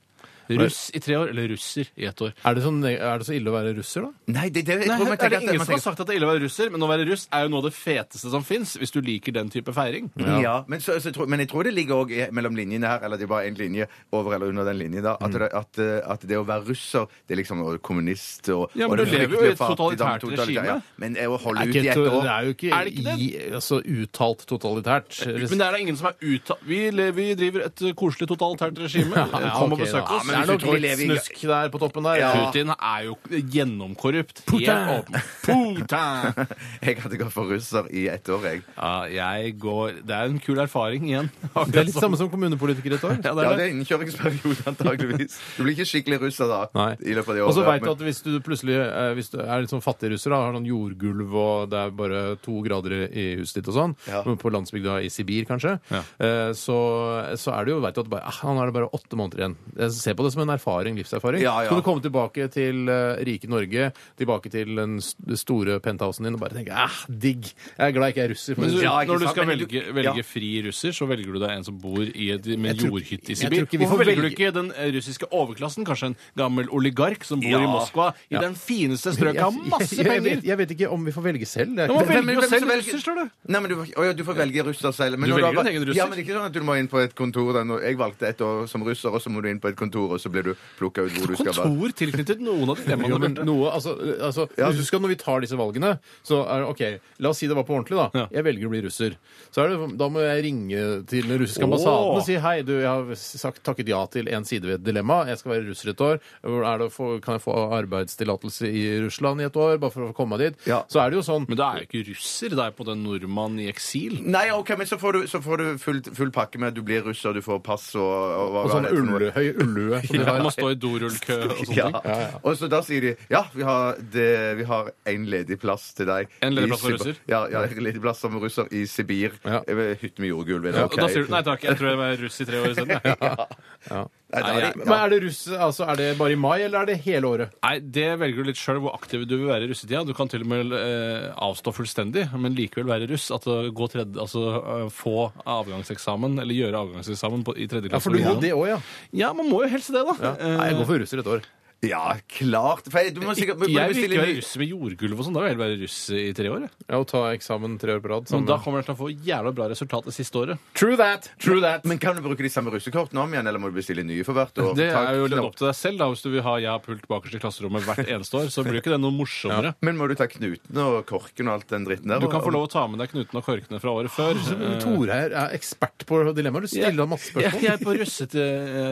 E: Russ i tre år eller russer i ett år.
C: Er det, så, ne- er det så ille å være russer, da?
D: Nei, det, det, jeg
E: Nei,
D: tror man
E: er
D: tenker
E: det
D: at
E: ingen
D: man
E: som har
D: tenker-
E: sagt at det er ille å være russer, men å være russ er jo noe av det feteste som fins, hvis du liker den type feiring.
D: Ja, men, så, så, tror- men jeg tror det ligger også i- mellom linjene her, eller det er bare én linje over eller under den linjen, da, at,
E: Mm.
D: det, at, eh, at det å være russer, det er liksom å være kommunist og
E: Ja, men
D: og
E: du
D: det
E: lever jo
D: fryktelige
E: i et
D: fattigdom,
E: totalitært
D: totalitært,
E: regime.
D: Ja. Men eh, å holde
C: Det
D: ut
C: er,
D: i ett
C: ikke,
D: år
C: det er jo ikke,
E: Er det ikke det?
C: i, altså, uttalt totalitært.
E: Men det er da ingen som er uttalt Vi, le- vi driver et uh, koselig totalitært regime.
C: ja,
E: Kom og
C: ok,
E: besøk
C: da.
E: oss.
C: Ja, men
D: hvis du tror vi
E: litt
D: lever i-
E: snusk.
C: Snusk der på toppen der.
D: Ja.
E: Putin er jo gjennomkorrupt.
C: Putin.
E: Helt åpen. Putin!
D: Jeg hadde gått for russer i ett år, jeg.
E: Ja, jeg går Det er en kul erfaring igjen.
C: Det er litt samme som kommunepolitiker et år.
E: Ja, det
D: Ja, det
E: er det.
D: er innkjøringsperiode, antageligvis. Du blir ikke skikkelig russer da.
C: Nei.
D: I løpet av de
C: Og så
D: årene.
C: veit du at hvis du plutselig eh, hvis du er litt sånn fattig russer, da, har sånn jordgulv og det er bare to grader i- i huset ditt og sånn,
D: Ja.
C: men på landsbygda i Sibir kanskje, eh, så, så er det jo, veit du at bare, ah, han har det bare åtte måneder igjen. Jeg ser på det som en erfaring, livserfaring.
D: Ja, ja.
C: Kan du komme tilbake til eh, rike Norge, tilbake til den s- store penthousen din og bare tenke ah, digg, jeg er glad jeg ikke er russer. for
E: Men
C: en
E: du,
C: stund».
D: Ja, ikke
E: når du
D: sant,
E: skal
D: men du-
E: velge,
D: ja.
E: velge fri russer, så velger du deg en som bor i et, med
C: tror-
E: jordhytte i
C: jeg
E: Sibir.
C: tror ikke vi får
E: Hvorfor velger du
C: velge-
E: ikke den eh, russiske overklassen? Kanskje en gammel oligark som bor
D: Ja.
E: i Moskva, i den fineste strøket, har masse
C: jeg, jeg,
E: penger?
C: vet, jeg vet ikke om vi får velge selv. Det er
E: Nå må
C: ikke-
E: vi velge
D: men-
E: jo
D: hvem som
E: selv
D: velger-
E: russer, står det.
D: Nei, men du, å, ja, du får velge russer selv. Men
E: Du
D: når
E: velger
D: har-
E: din egen russer.
D: Ja, men det er ikke sånn at du må inn på et kontor. da. Når Jeg valgte et år som russer, og så må du inn på et kontor, og så blir du plukka ut hvor du skal være.
E: Kontor tilknyttet noen av
C: Jo,
E: dilemmaene,
C: men
E: Bjarte.
C: noe, altså, altså, hvis du skal, Når vi tar disse valgene, så er det OK, la oss si det var på ordentlig, da.
E: Ja.
C: Jeg velger å bli russer. Så er det, da må jeg ringe til den russiske ambassaden og si hei, du, jeg har sagt, takket ja til en side ved et dilemma. Jeg skal være russer et år. Hvor Er det, å få- kan jeg få arbeidstillatelse i Russland i et år, bare for å komme meg dit?
D: Ja.
C: Så er det jo sånn
E: Men da er jo ikke russer, da er på den nordmann i eksil.
D: Nei, ok, men så får du, så får du full, full pakke med at du blir russer, du får pass og, og hva
C: og
D: hva er
C: sånn
D: det for noe?
C: ulle, høy ullue. som de
E: Ja,
C: har.
E: må stå i dorullkø og sånne
D: Ja.
E: ting.
D: Og så da sier de ja, vi har, det, vi har en ledig plass til deg.
E: En ledig
D: i
E: plass for
D: Sibir-
E: russer?
D: Ja, ja, en ledig plass som russer i Sibir.
C: Ja.
D: Ved Hytte med jordgulv. er det ok?
E: Og da sier du nei takk, jeg tror jeg var russ i tre år isteden. jeg».
D: Nei, da er det-
C: Men er det russ, altså, er det bare i mai, eller er det hele året?
E: Nei, det velger du litt sjøl hvor aktiv du vil være i russetida. Du kan til og med eh, avstå fullstendig, men likevel være russ. At uh, gå tredje, altså eh, få avgangseksamen, eller gjøre avgangseksamen på, i tredje
C: Ja,
E: klasse.
C: for du må
E: videregående.
C: det òg, ja.
E: ja, man må jo helst det, da. Eh,
C: Nei, jeg går for russer et år.
D: Ja, klart. For jeg, du må sikkert,
E: jeg vil
D: bestille
E: ikke være
D: ny-
E: russ med jordgulv og sånn. Da vil jeg heller være russ i tre år. jeg.
C: Ja, Å ta eksamen tre år på rad.
E: Men
C: sammen
E: da
C: med-
E: kommer jeg til å få jævla bra resultat det siste året.
C: True that! True that!
D: Men kan du bruke de samme russekortene om igjen, eller må du bestille nye for hvert år?
E: Det
D: Ta-
E: er jo litt opp til deg selv, da. Hvis du vil ha 'jeg har pult bakerst i klasserommet' hvert eneste år, så blir jo ikke det noe morsommere.
D: Men må du ta knuten og korken og alt den dritten der?
E: Du kan få
D: og-
E: lov å ta med deg knutene og korkene fra året før. Eh,
C: Men Tore her er ekspert på dilemmaer. Du stiller ham masse
E: Jeg,
C: spørsmål.
E: jeg På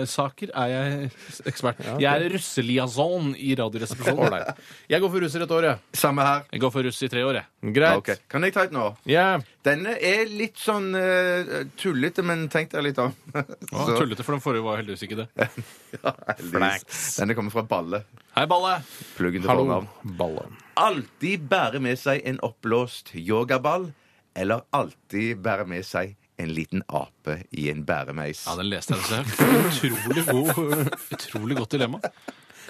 E: russesaker er jeg ekspert. Jeg er russeliaison i Radioresepsjonen.
C: Ålreit. Jeg går for russer et år, jeg.
D: Samme her.
E: Jeg går for russ i tre år, jeg.
C: Greit.
D: Ok. Kan jeg ta et nå?
C: Ja.
D: Denne er litt sånn eh, tullete, men tenk deg litt om.
E: Å,
D: Så-
E: Tullete, for den forrige var heldigvis ikke det.
D: Ja, heldigvis. Denne kommer fra Balle.
E: Hei, Balle!
D: Pluggen til
C: Hallo,
D: fornavn.
C: ballen.
D: Alltid bære med seg en oppblåst yogaball, eller alltid bære med seg en liten ape i en bæremeis.
E: Ja, den leste jeg også. Utrolig god, utrolig godt dilemma.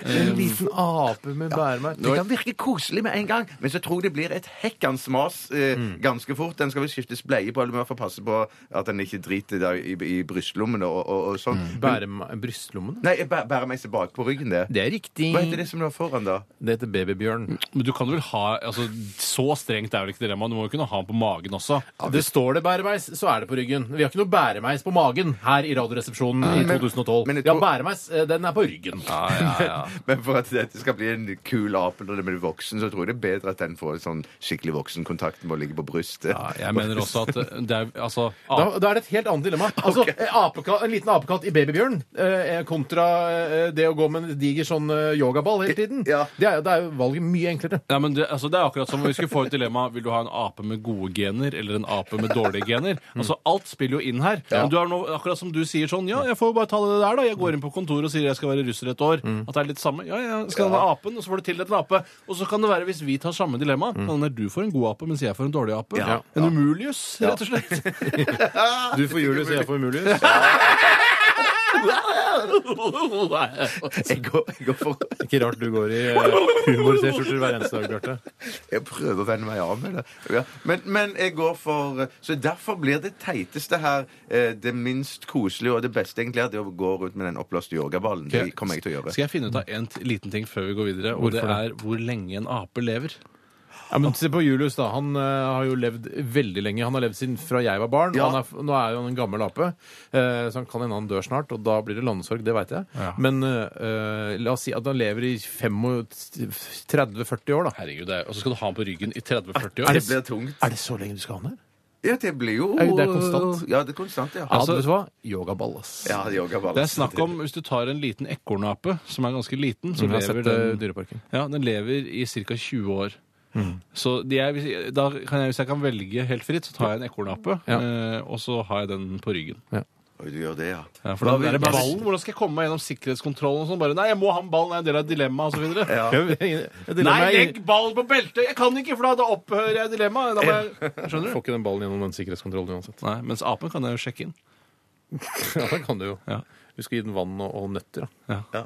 C: En liten ape med bæremerk.
D: Det kan virke koselig med en gang, men så tror jeg det blir et hekkans mas eh, ganske fort. Den skal vel skiftes bleie på, eller du må i hvert fall passe på at den ikke driter der i, i brystlommene og, og, og sånn. Men-
C: Bæreme- Brystlommene?
D: Nei, jeg bæ- bærer meg seg bakpå ryggen, det.
C: Mm. Det Mm. er riktig.
D: Hva heter det som du har foran, da?
C: Det heter babybjørn.
E: Men du kan vel ha altså, Så strengt er vel ikke dilemmaet. Du må jo kunne ha den på magen også.
C: Det står det bæremeis, så er det på ryggen. Vi har ikke noe bæremeis på magen her Mm. i Radioresepsjonen i 2012.
D: men jeg
C: Ja,
D: tror-
C: bæremeis, eh, den er på ryggen.
E: Ja, ja, ja.
D: Men for at dette skal bli en kul ape når den blir voksen, så tror jeg det er bedre at den får en sånn skikkelig voksenkontakt med å ligge på brystet.
E: Ja, jeg mener også at eh, det er Altså
C: Da,
E: ape-
C: da er det et helt annet dilemma. Altså, eh, apeka- En liten apekatt i babybjørn eh, kontra eh, det å gå med en diger sånn eh, yogaball hele tiden.
D: Ja.
C: Det, er, jo- da er jo valget mye enklere.
E: ja, men det, altså, det er akkurat som om vi skulle få et dilemma Vil du ha en ape med gode gener eller en ape med dårlige gener.
C: Mm.
E: Altså, Alt spiller jo inn her. Men du er nå, akkurat som du sier sånn Ja, jeg får jo bare ta det der, da. Jeg går inn på kontoret og sier jeg skal være russer et år.
C: Mm.
E: At det er litt samme. Ja, ja, skal den ha apen, og så får du tildelt en ape. Og så kan det være, hvis vi tar samme dilemma, kan det være du får en god ape, mens jeg får en dårlig ape.
C: Mm. Ja.
E: En umulius, rett og slett.
C: Du får Julius, og jeg får Umulius.
E: altså.
D: Jeg går, jeg går for
C: Ikke rart du går i eh, humor-T-skjorter hver eneste dag, Bjarte.
D: Jeg prøver å vende meg av med det. Ja. Men, men jeg går for Så derfor blir det teiteste her eh, det minst koselige og det beste egentlig er det å gå rundt med den oppblåste yogaballen. Det kommer jeg til å gjøre.
E: Skal jeg finne ut av en t- liten ting før vi går videre, og det
C: Hvorfor
E: er hvor lenge en ape lever?
C: Ja, men Se på Julius, da. Han eh, har jo levd veldig lenge. Han har levd siden fra jeg var barn.
D: Ja.
C: Han er, f- nå er jo han en gammel ape, eh, så han kan hende han dør snart, og da blir det landesorg. Det veit jeg.
E: Ja.
C: Men eh, la oss si at han lever i 35-40 år, da.
E: Herregud, det er, Og så skal du ha den på ryggen i 30-40
D: Det
E: år?
D: blir tungt.
C: Er det så lenge du skal ha han her?
D: Ja, det blir jo
C: Er det konstant?
D: Ja, det er konstant, ja.
C: Altså, vet du hva? Yogaball, ass.
D: ja yogaball.
E: Det er snakk om, Hvis du tar en liten ekornape, som er ganske liten, så
C: Mm, jeg har
E: lever
C: sett, eh,
E: den,
C: Dyreparken.
E: ja, den lever i ca. 20 år.
C: Mm.
E: Så de er, da kan jeg, Hvis jeg kan velge helt fritt, så tar jeg en ekornape,
C: Ja.
E: eh, og så har jeg den på ryggen.
D: Oi, du gjør det, ja.
E: Ja, for
D: Da
E: den
D: vil
E: der
D: jeg-
E: ballen, Hvordan skal jeg komme meg gjennom sikkerhetskontrollen? og sånn? Bare, Nei, jeg må ha den ballen, det er en del av dilemmaet osv. videre
C: Ja, det dilemmaet
E: Nei,
C: er-
E: legg ballen på beltet! Jeg kan ikke, for da, da opphører jeg dilemmaet. Da må jeg... Skjønner du?
C: Får ikke den ballen gjennom den sikkerhetskontrollen uansett.
E: Nei, mens apen kan jeg jo sjekke inn.
C: Ja, det kan du jo.
E: Ja.
C: Du skal gi den vann og, og nøtter. Da.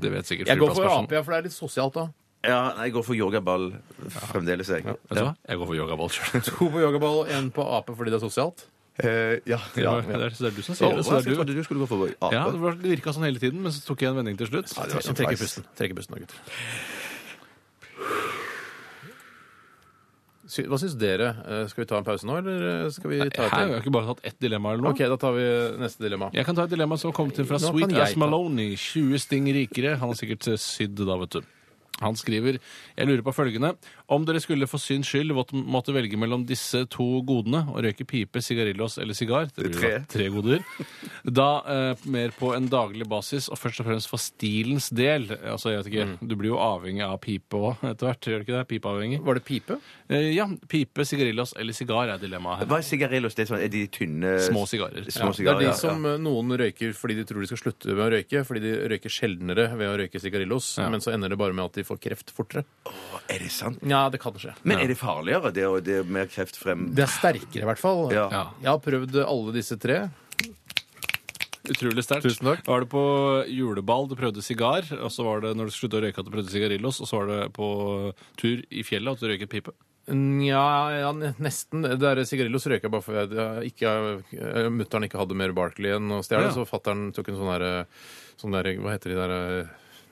E: Det vet sikkert
C: Jeg går for
E: flyplasspersonen.
C: ape, ja, for det er litt sosialt, da.
D: ja nei, jeg går for yogaball fremdeles, jeg.
E: Vet du hva? Jeg går for yogaball sjøl.
C: To på yogaball og én på ape fordi det er sosialt.
D: Eh, ja.
E: Ja,
D: ja.
E: det er så det er du som
D: Så,
E: sier det. Så
D: jeg
E: det er du.
D: trodde du skulle gå for ape.
E: Ja, det var- det virka sånn hele tiden, men så tok jeg en vending til slutt.
D: det var så
C: Trekker
D: feist.
C: pusten. Trekker pusten nå, gutter. Sy- Hva syns dere? Eh, Skal vi ta en pause nå, eller eh, skal vi ta
E: Her
C: et
E: har
C: til?
E: jeg ikke bare tatt ett dilemma eller noe.
C: OK, da tar vi neste dilemma.
E: Jeg kan ta et dilemma som har kommet inn fra
C: Nå
E: Sweet
C: kan jeg
E: Ass
C: ta-
E: Maloney. 20 sting rikere. Han har sikkert eh, sydd da, vet du. Han skriver Jeg lurer på følgende. Om dere skulle for syns skyld måtte- måtte velge mellom disse to godene, å røyke pipe, sigarillos eller sigar Det blir jo
D: Tre.
E: da tre goder. Da eh, mer på en daglig basis, og først og fremst for stilens del. Altså, jeg vet ikke,
C: Mm.
E: Du blir jo avhengig av pipe òg etter hvert, gjør du ikke det? Pipeavhengig.
C: Var det pipe?
E: Eh, ja, pipe, sigarillos eller sigar er dilemmaet her.
D: Hva er sigarillos? Det er, sånn, er de tynne
E: Små sigarer.
D: Små
C: Det er
D: sigarer,
C: de
D: ja, ja.
C: som eh, noen røyker fordi de tror de skal slutte med å røyke, fordi de røyker sjeldnere ved å røyke sigarillos, men så ender det bare med at de får kreft fortere.
D: Er det sant?
C: Ja, det kan skje.
D: Men er det farligere? Det, og det er mer kreftfrem...
C: Det er sterkere, i hvert fall.
D: Ja.
C: Jeg har prøvd alle disse tre.
E: Utrolig sterkt.
C: Tusen takk.
E: Var det på juleball du prøvde sigar, og så var det når du sluttet å røyke at du prøvde sigarillos, og så var det på tur i fjellet at du røyket pipe?
C: Nja, ja, ne- nesten. Det der sigarillos røyka jeg bare for jeg, jeg ikke, eh, mutter'n ikke hadde mer Barkley enn å stjele,
E: Ja.
C: så fatter'n tok en sånn derre sånn der, Hva heter de der eh,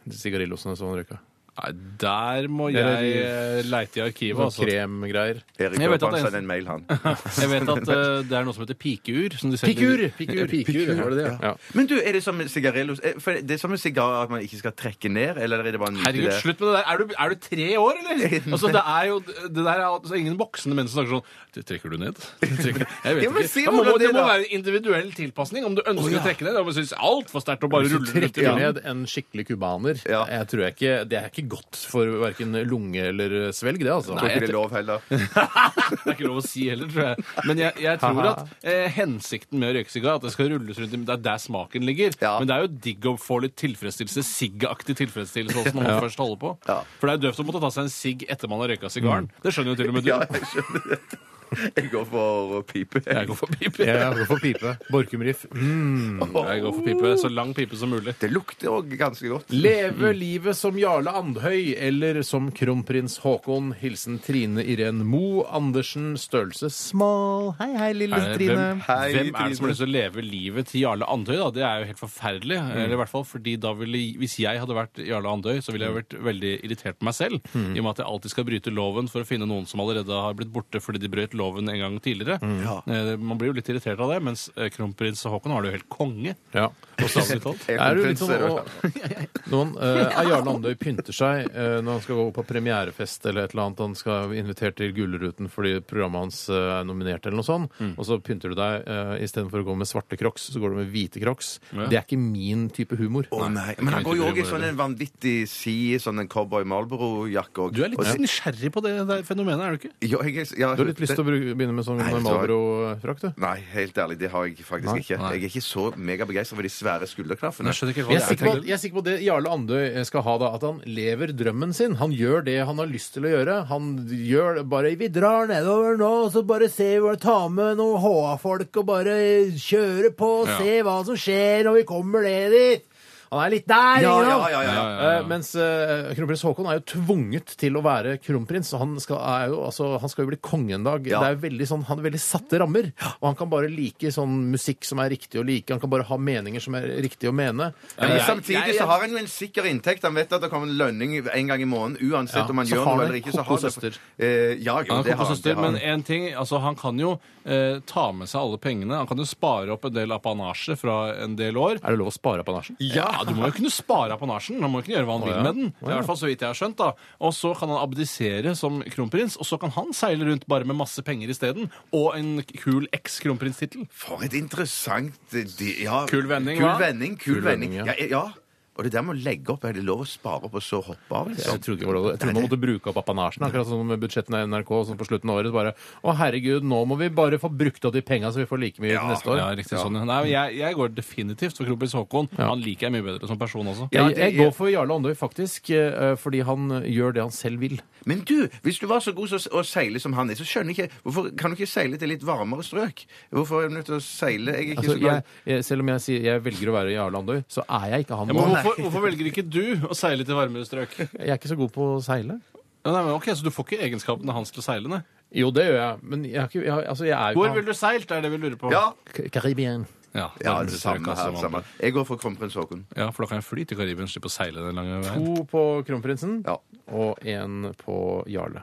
C: de sigarillosene som han røyka?
E: Nei, der må
C: Det
E: jeg
C: er
E: eh, leite i arkivet,
C: Sånn
E: altså.
C: kremgreier.
D: Erik
E: Jeg vet
D: Jørgen
E: at det er-
D: sendte en mail, han.
E: Jeg vet at eh, det er noe som heter pikur. Som de selger-
C: Pikur, pikur, var det det? Ja.
D: Men du, er det som med sigarillos er- For det er som med sigarer at man ikke skal trekke ned, eller er det bare en myte,
E: Herregud,
D: det?
E: slutt med det der. Er du, er du tre år, eller? Altså, det er jo det der er altså, ingen voksne mennesker snakker sånn «Det Trekker du ned? Det Trekker. Jeg vet
D: Ja, men
E: ikke.
D: si
E: Da må,
D: hvordan
E: det
D: det
E: må
D: da.
E: være en individuell tilpasning. Om du ønsker å trekke ned. Om du syns altfor sterkt å bare
C: Hvis du
E: rulle rundt i
C: trekker
E: munnen.
C: ned en skikkelig cubaner
D: Ja.
C: jeg tror jeg ikke, Det er ikke godt for verken lunge eller svelg, det, altså.
D: Tror ikke det er lov heller.
E: Det er ikke lov å si heller, tror jeg. Men jeg, jeg tror at eh, hensikten med å røyke sigar er at det skal rulles rundt i Det er der smaken ligger.
D: Ja.
E: Men det er jo digg å få litt tilfredsstillelse, siggaktig tilfredsstillelse, også når man først holder på.
D: Ja.
E: For det er jo døvt å måtte ta seg en sigg etter man har røyka sigaren. Det skjønner jo til og med du.
D: Ja, jeg skjønner det. Jeg går for pipe.
E: Jeg går for pipe.
C: Jeg går for pipe. Borkumriff.
E: Jeg går for pipe. Så lang pipe som mulig.
D: Det lukter òg ganske godt.
C: Leve livet som Jarle Andhøy eller som kronprins Haakon. Hilsen Trine Irén Moe Andersen. Størrelse smal. Hei, hei, lille
E: Er det-
C: Trine.
E: Hvem,
D: Hei,
E: hvem er det som har
D: Trine.
E: lyst til å leve livet til Jarle Andøy? Da? Det er jo helt forferdelig. eh, Eller i hvert fall fordi da ville, Hvis jeg hadde vært Jarle Andøy, så ville jeg vært veldig irritert på meg selv. I og med at jeg alltid skal bryte loven for å finne noen som allerede har blitt borte fordi de brøt loven en gang tidligere. Eh, Man blir jo litt irritert av det, mens eh, kronprins Haakon har det jo helt konge.
C: Ja.
E: Bokstavelig talt.
D: Jeg
C: Er du
D: kom
C: litt
D: til
C: sånn
D: å-
C: og,
D: altså.
C: noen, eh, Er Jarle Andøy pynter seg eh, når han skal gå på premierefest eller et eller annet, han skal være invitert til Gullruten fordi programmet hans eh, er nominert eller noe sånt,
D: Mm.
C: og så pynter du deg uh, istedenfor å gå med svarte crocs, så går du med hvite crocs. Det er ikke min type humor.
D: Å nei. Men han går jo òg i sånn en vanvittig si, sånn en cowboy Marlboro-jakke òg.
E: Du er litt nysgjerrig på det der fenomenet, er du ikke?
D: ja, jeg, er- ja,
C: Du har litt lyst til å bruke- begynne med sånn
D: Nei, så-
C: Malbro-frakt, du?
D: Nei, helt ærlig, det har jeg faktisk ikke.
E: Nei.
D: Jeg er ikke så megabegeistra for de svære skulderklaffene.
E: Jeg skjønner ikke
C: Men
E: hva
C: Jeg er, sikker på, at- jeg er sikker på at det Jarle Andøy eh, skal ha, da, at han lever drømmen sin. Han gjør det han har lyst til å gjøre. Han gjør det bare Vi drar nedover nå, og så bare ser vi hva Ta med noen HA-folk og bare kjøre på, og
E: Ja.
C: se hva som skjer når vi kommer ned dit. Han er litt der, ikke
D: Ja, ja,
C: sant?
D: ja, ja, ja.
C: Eh, mens eh, kronprins Haakon er jo tvunget til å være kronprins. og Han skal, er jo, altså, han skal jo bli konge en dag.
D: Ja.
C: Det er jo veldig sånn, Han har veldig satte rammer. Og han kan bare like sånn musikk som er riktig å like. Han kan bare ha meninger som er riktig å mene. Eh,
D: Men
E: jeg-
D: samtidig
E: jeg-
D: så har han jo en sikker inntekt. Han vet at det kommer en lønning en gang i måneden. Uansett
C: Ja,
D: om han
C: så
D: gjør
C: har
D: noe
C: han
D: eller
C: en
D: ikke. Så har
C: kokosøster.
D: Eh, ja, jo,
E: Han
D: det har
E: har
D: han. Det
E: kokosøster,
D: har han.
E: men en ting, altså han kan jo eh, ta med seg alle pengene. Han kan jo spare opp en del apanasje fra en del år.
C: Er det lov å spare apanasjen?
E: Ja, Du må jo kunne spare apanasjen. Han må jo kunne gjøre hva han vil
C: ja.
E: med den. I hvert fall så vidt jeg har skjønt da. Og så kan han abdisere som kronprins, og så kan han seile rundt bare med masse penger isteden. Og en kul eks-kronprinstittel.
D: For et interessant eh, de, ja.
E: Kul vending,
D: kul
E: hva?
D: vending, kul,
C: Kul
D: vending.
C: vending, ja.
D: Ja. eh, Ja, Og det der med å legge opp, er det lov å spare opp og så hoppe av?
C: Jeg
D: Liksom?
C: trodde, ikke det var lov. jeg trodde man måtte bruke opp apanasjen. Akkurat som med budsjettene i NRK sånn på slutten av året. Bare Å, herregud, nå må vi bare få brukt opp de penga så vi får like mye til neste år.
E: Ja, riktig sånn. ja. Nei, men jeg, jeg går definitivt for kronprins Haakon.
C: Ja.
E: Han liker jeg mye bedre som person også.
C: Jeg,
D: det-
C: jeg går for Jarle Andøy, faktisk, eh, fordi han gjør det han selv vil.
D: Men du, hvis du var så god til å seile som han er, så skjønner jeg ikke Hvorfor kan du ikke seile til litt varmere strøk? Hvorfor er du nødt til å seile? Jeg er ikke
C: Altså,
D: så
C: jeg,
D: glad.
C: jeg, selv om jeg sier jeg velger å være Jarle Andøy, så er jeg ikke han.
E: Ja, men
C: Nå.
E: hvorfor, hvorfor velger ikke du å seile til varmere strøk? Ja,
C: Jeg er ikke så god på å seile.
E: Nei, men ok, Så du får ikke egenskapene hans til å seile? nei.
C: Jo, det gjør jeg, men jeg, har ikke, jeg, har- altså, jeg er jo
E: Hvor ville du seilt, er det vi lurer på.
D: Ja,
C: K- Karibien.
E: Ja,
D: ja
E: varmere
D: det
E: strøk,
D: samme
E: altså,
D: her.
E: man-
D: Samme. Jeg går for kronprins Haakon.
E: Ja, For da kan jeg fly til Karibien, slippe å seile den lange veien.
C: To på Kronprinsen
D: Ja.
C: og én på Jarle.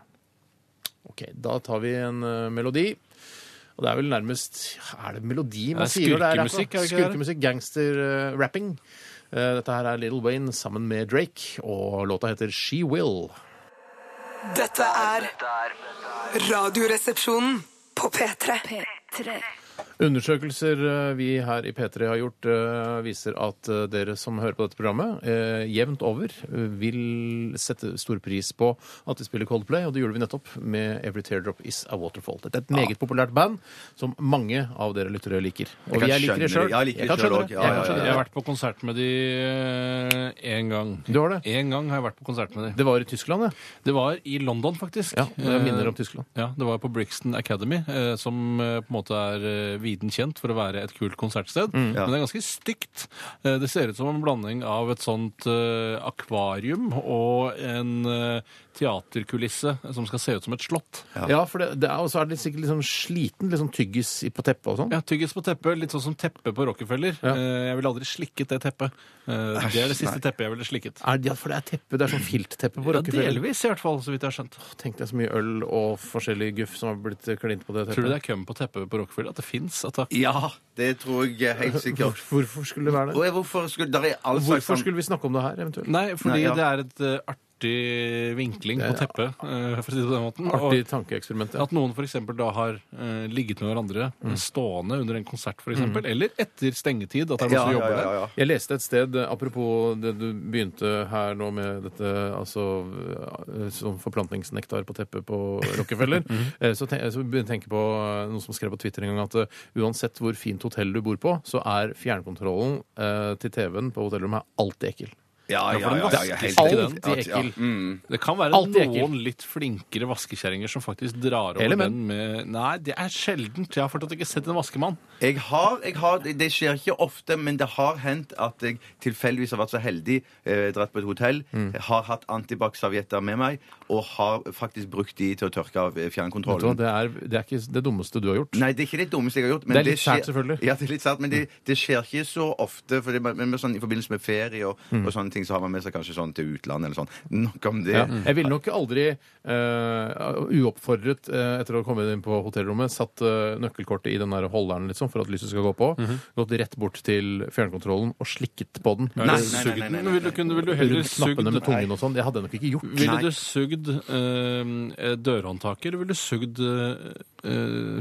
C: Ok, da tar vi en eh, melodi. Og det er vel nærmest Er det melodi man
E: Det er
C: sier når det er rap, da?
E: skurkemusikk, er det ikke det?
C: Skurkemusikk, gangster-rapping. Eh, dette her er Little Wayne sammen med Drake, og låta heter She Will.
A: Dette er Radioresepsjonen på P3.
C: Undersøkelser eh, vi her i P3 har gjort, eh, viser at eh, dere som hører på dette programmet, eh, jevnt over eh, vil sette stor pris på at vi spiller Coldplay, og det gjorde vi nettopp med Every Teardrop Is A Waterfall. Dette er et meget populært band som mange av dere lyttere liker. Og
D: kan
C: jeg, liker
D: skjønne
C: det sjøl.
D: det. Jeg liker det selv også. Ja, ja, ja,
E: Jeg har vært på konsert med de eh, én gang.
C: Du har det?
E: En gang har jeg vært på konsert med de.
C: Det var i Tyskland, ja.
E: Det var i London, faktisk.
C: ja det minner om
E: Eh,
C: Tyskland.
E: Ja, Det var på Brixton Academy, eh, som eh, på en måte er eh, viden kjent for å være et kult konsertsted.
C: Mm.
E: Men det er ganske stygt. Eh, det ser ut som en blanding av et sånt eh, akvarium og en eh, teaterkulisse som skal se ut som et slott.
C: Ja, for det, det er, og så er det sikkert litt sånn sliten, litt sånn tyggis i- på teppet og sånn.
E: Ja, Tyggis på teppet, litt sånn som teppet på Rockefeller. Eh, jeg ville aldri slikket det teppet. Eh, det er det siste teppet jeg ville slikket.
C: Er det- Ja, for det er teppe, det er sånn filtteppe på
E: Ja,
C: Rockefeller.
E: delvis, i hvert fall, så vidt jeg har skjønt.
C: Tenk deg så mye øl og forskjellig guff som har blitt klint på det teppet.
E: Tror du det er køm på teppet på Rockefeller? At det fins? At det...
D: Ja, det tror jeg eh, helt sikkert.
C: Hvorfor skulle det være det?
D: Og jeg- hvorfor skulle der er all slags
C: Hvorfor
D: sånn-
C: skulle vi snakke om det her, eventuelt?
E: Nei, fordi
D: Nei, ja.
E: det er et eh, artig vinkling på teppet, eh, for å si det på den måten.
C: Artig
E: Og
C: tankeeksperiment. Ja.
E: at noen f.eks. da har eh, ligget med hverandre
D: Mm.
E: stående under en konsert, f.eks., eksempel eller etter stengetid. At det er noen
D: Ja,
E: som
D: ja,
E: jobber
D: ja, ja.
C: Jeg leste et sted, eh, apropos det du begynte her nå med dette altså eh, som forplantningsnektar på teppet på Rockefeller,
D: Mhm.
C: eh, så, ten så begynte jeg å tenke på eh, noen som skrev på Twitter en gang at eh, uansett hvor fint hotell du bor på, så er fjernkontrollen eh, til TV-en på hotellrommet alltid ekkel.
D: Ja, ja,
E: for
D: ja, ja,
E: den
D: ja,
E: vaskes
D: helt
E: alltid
D: riktig.
C: Alltid
D: Ja, Mm. ja.
C: ekkel.
E: der. Det kan være
C: Alltid ekkel.
E: noen litt flinkere vaskekjerringer som faktisk drar over
C: Eller
E: den med Nei, det er sjeldent. Jeg har fortsatt ikke sett en vaskemann.
D: Jeg har, jeg har, det skjer ikke ofte, men det har hendt at jeg tilfeldigvis har vært så heldig, eh, dratt på et hotell,
C: Mm.
D: har hatt antibac-servietter med meg, og har faktisk brukt de til å tørke
C: Vet
D: av eh,
C: du hva,
D: fjernkontrollen.
C: Det er, det er ikke det dummeste du har gjort.
D: Nei, det er ikke det dummeste jeg har gjort. men
C: Det er litt
D: skjer-
C: sært, selvfølgelig. Mm.
D: Ja, det er litt sært, men det, det skjer ikke så ofte for det, men, men sånn, i forbindelse med ferie og, og sånne ting, så har man med seg kanskje sånn til utlandet eller sånn. Nok om det.
C: Ja. Jeg ville nok aldri eh, uoppfordret eh, etter å ha kommet inn på hotellrommet, satt eh, nøkkelkortet i den der holderen liksom, for at lyset skal gå på, gått rett bort til fjernkontrollen og slikket på den.
D: Nei,
E: Ville du
D: nei,
E: sugd
D: nei, nei,
E: den?
D: nei,
E: Ville du- kunne- ville du heller
C: Rundt knappene med
E: sugd
C: tungen og sånn. Det hadde jeg nok ikke gjort.
E: Ville du sugd eh, dørhåndtaket, eller ville du sugd eh,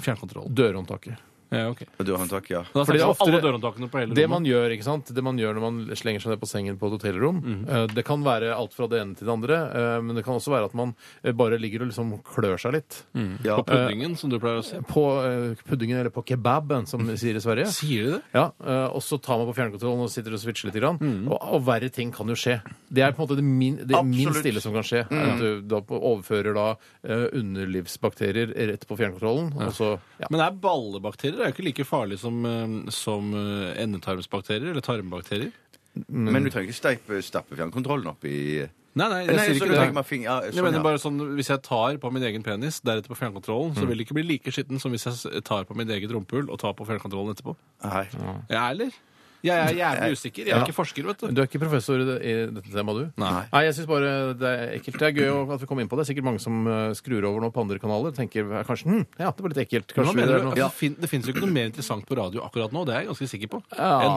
E: fjernkontrollen?
C: Dørhåndtaket.
E: Ja, ok.
D: Og du har håndtak, ja.
E: Da
C: Fordi
E: snakker vi om alle
C: oftere-
E: dørhåndtakene på hele
C: Det
E: rommet.
C: man gjør ikke sant? Det man gjør når man slenger seg ned på sengen på et hotellrom, eh, det kan være alt fra det ene til det andre, eh, men det kan også være at man eh, bare ligger og liksom klør seg litt.
D: ja.
E: På puddingen, som du pleier å si.
C: På eh, puddingen, eller på kebaben, som de sier i Sverige.
E: Sier de det?
C: Ja, eh, og så tar man på fjernkontrollen og sitter og switcher litt. Grann,
E: Mm.
C: og, og verre ting kan jo skje. Det er på en måte det, min, det minst ille som kan skje. er At du
E: Mm.
C: da på- overfører da eh, underlivsbakterier rett på fjernkontrollen. Og så, ja.
E: Men er ballebakterier er jo ikke like farlig som, eh, som eh, endetarmsbakterier eller tarmbakterier.
C: Mm.
D: Men du trenger ikke steipe, stappe fjernkontrollen opp i
E: Nei, nei,
D: Nei, så du
E: det.
D: legger meg fing- ja,
E: jeg
D: sånn,
E: mener
D: ja.
E: bare sånn, Hvis jeg tar på min egen penis, deretter på fjernkontrollen, så vil det ikke bli like skitten som hvis jeg s- tar på mitt eget rumpehull og tar på fjernkontrollen etterpå.
D: Nei.
E: Jeg er eller? Jeg er jævlig usikker. Jeg er ikke forsker, vet du.
C: Du er ikke professor i det- i dette temaet, du?
E: Nei.
C: jeg syns bare det er ekkelt. Det er gøy å- at vi kom inn på det. Sikkert mange som eh, skrur over nå på andre kanaler. Tenker eh, kanskje hm, ja, det var litt ekkelt.
E: Hva
C: Kanskje vi
E: mener
C: gjør
E: du?
C: noe-
E: Altså, fin, det fins jo ikke noe mer interessant på radio akkurat nå, det er jeg ganske sikker på, enn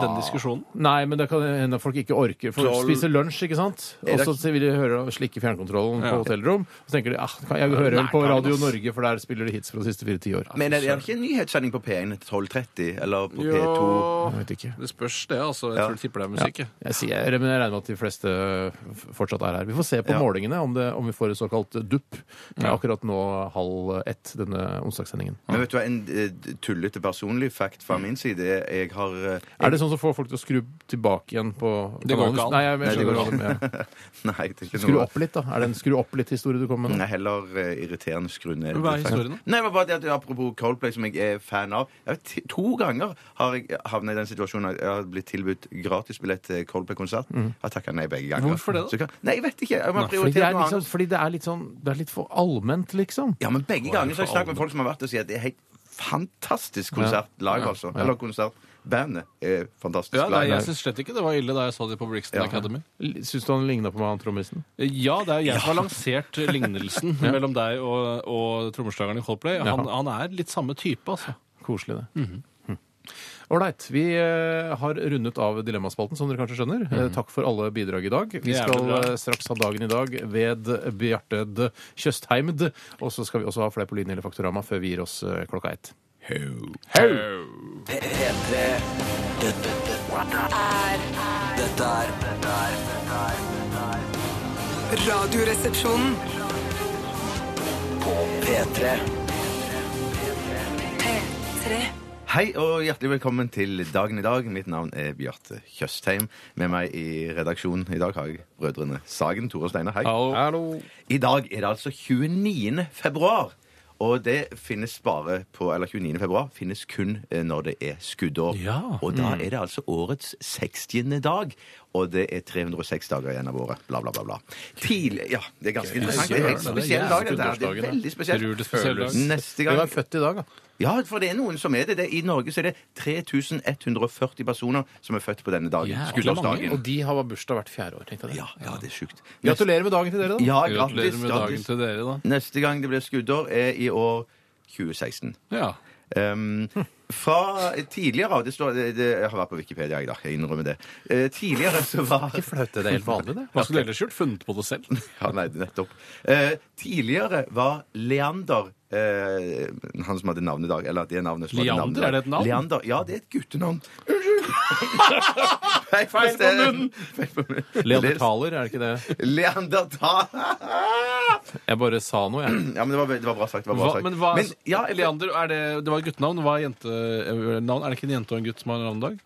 C: Ja.
E: den diskusjonen.
C: Nei, men det kan hende at folk ikke orker. For
D: Troll.
C: spiser lunsj, ikke sant? Og så vil de høre og slikke fjernkontrollen på
E: Ja.
C: hotellrom. Og så tenker de ah, kan jeg hører vel på
E: Nei,
C: Radio
E: ass.
C: Norge, for der spiller de hits fra de siste fire tiår.
D: Men er det er det ikke en nyhetssending på P1 12.30 eller på P2?
E: Jo,
C: Jeg vet ikke.
E: det spørs det, altså. Jeg
D: Ja.
E: tror de tipper det er
C: Ja.
E: musikk. jeg.
C: Jeg, sier, men jeg regner med at de fleste eh, f- fortsatt er her. Vi får se på
D: Ja.
C: målingene om, det, om vi får et såkalt dupp. Det er akkurat nå halv ett denne onsdagssendingen.
D: Men vet du hva, en eh, tullete personlig fact fra min side er jeg har eh,
C: Er det sånn som får folk til å skru tilbake igjen på
E: Det går ikke an.
C: Nei, jeg, jeg,
D: Nei, det går
C: skjønner hva du mener.
D: Nei, det er ikke
C: Skru
D: noe
C: opp litt, da. Er det en skru opp litt-historie du kommer med? nå?
D: Nei, heller eh, irriterende skru ned.
E: Mm. Hva er historien da?
D: Nei, det var bare det at Apropos Coldplay, som jeg er fan av. Jeg vet, ti- to ganger har jeg havnet i den situasjonen at jeg har blitt tilbudt gratisbillett til Coldplay-konsert. Jeg har takka nei begge ganger.
E: Hvorfor det da?
D: Så jeg kan- Nei, jeg vet ikke. Jeg må
C: Mm. Fordi det,
D: prioritere
C: er
D: noe
C: liksom,
D: annet.
C: fordi det er litt sånn Det er litt for allment, liksom.
D: Ja, men begge ganger så har jeg
E: for
D: snakket med folk som har vært og sier at det er helt fantastisk konsert live, altså. Eller konsert. Bandet er fantastisk
E: Ja, nei,
D: live.
E: jeg syns slett ikke det var ille da jeg så det på Brixton
D: Ja.
E: Academy.
C: Syns du han ligna på meg, han trommisen?
E: Ja, det er jo jeg som har lansert lignelsen mellom deg og, og trommeslageren i Coldplay. Han, han er litt samme type, altså.
C: Koselig, det.
E: Mhm.
C: Hm. Ålreit. Vi eh, har rundet av Dilemmaspalten, som dere kanskje skjønner. Eh, takk for alle bidrag i dag. Vi
E: Mhm. Jævlig
C: skal
E: bra.
C: eh, straks ha dagen i dag ved Bjarted Tjøstheimd. Og så skal vi også ha flere på linje eller Faktorama før vi gir oss eh, klokka ett.
B: P- P3 Dette dette er Dette er dette er
A: Radioresepsjonen.
B: På P3
A: P3.
D: Hei og hjertelig velkommen til Dagen i dag. Mitt navn er Bjarte Tjøstheim. Med meg i redaksjonen i dag har jeg brødrene Sagen, Tore og Steinar. Hei.
C: Hallo.
D: I dag er det altså 29. februar. Og det finnes bare på, eller 29. februar finnes kun eh, når det er skuddår.
E: Ja.
D: Og da er det altså årets 60. dag. Og det er 306 dager igjen av året. Bla, bla, bla. bla. Tidlig, ja, det er ganske interessant. Det er en spesiell dag. dette her. Det er veldig
E: Rur det
D: spesielt.
E: spesiell dag.
D: Neste
C: Vi
D: gang
C: var født i dag, da.
D: ja, for det er noen som er det. det I Norge så er det 3140 personer som er født på denne dagen.
E: Jævlig
C: Og
D: Skuddårsdagen.
C: de har bursdag hvert fjerde år. tenkte jeg det.
D: Ja, ja, det er sjukt.
C: Gratulerer med dagen til dere, da.
D: Ja,
E: Gratulerer
D: grattis.
E: med dagen
D: grattis.
E: til dere,
D: Neste gang det blir skuddår, er i år 2016.
E: da. Ja.
D: Ehm, fra tidligere av det står, det, det, Jeg har vært på Wikipedia, jeg, da. Jeg innrømmer det. Eh, tidligere så var
C: Ikke flaut, det er helt vanlig, det.
E: Hva skulle du ellers gjort? Funnet på det selv?
D: Ja, nei, nettopp. Eh, tidligere var Leander eh, Han som hadde navnedag. Eller det er navnet som
E: Leander,
D: hadde navnedag.
E: er det et navn?
D: Leander, ja, det er et guttenavn. Feil på munnen! Feil på munnen.
C: Leandertaler, er det ikke det?
D: Leandertal.
C: Jeg bare sa noe, jeg.
D: Ja, men det var, det var bra sagt. Det var bra
E: Hva,
D: sagt.
E: men hva
D: ja,
E: Leander, er det, det var et guttenavn. Hva er jentenavn? Er det ikke en jente og en gutt som har navnedag?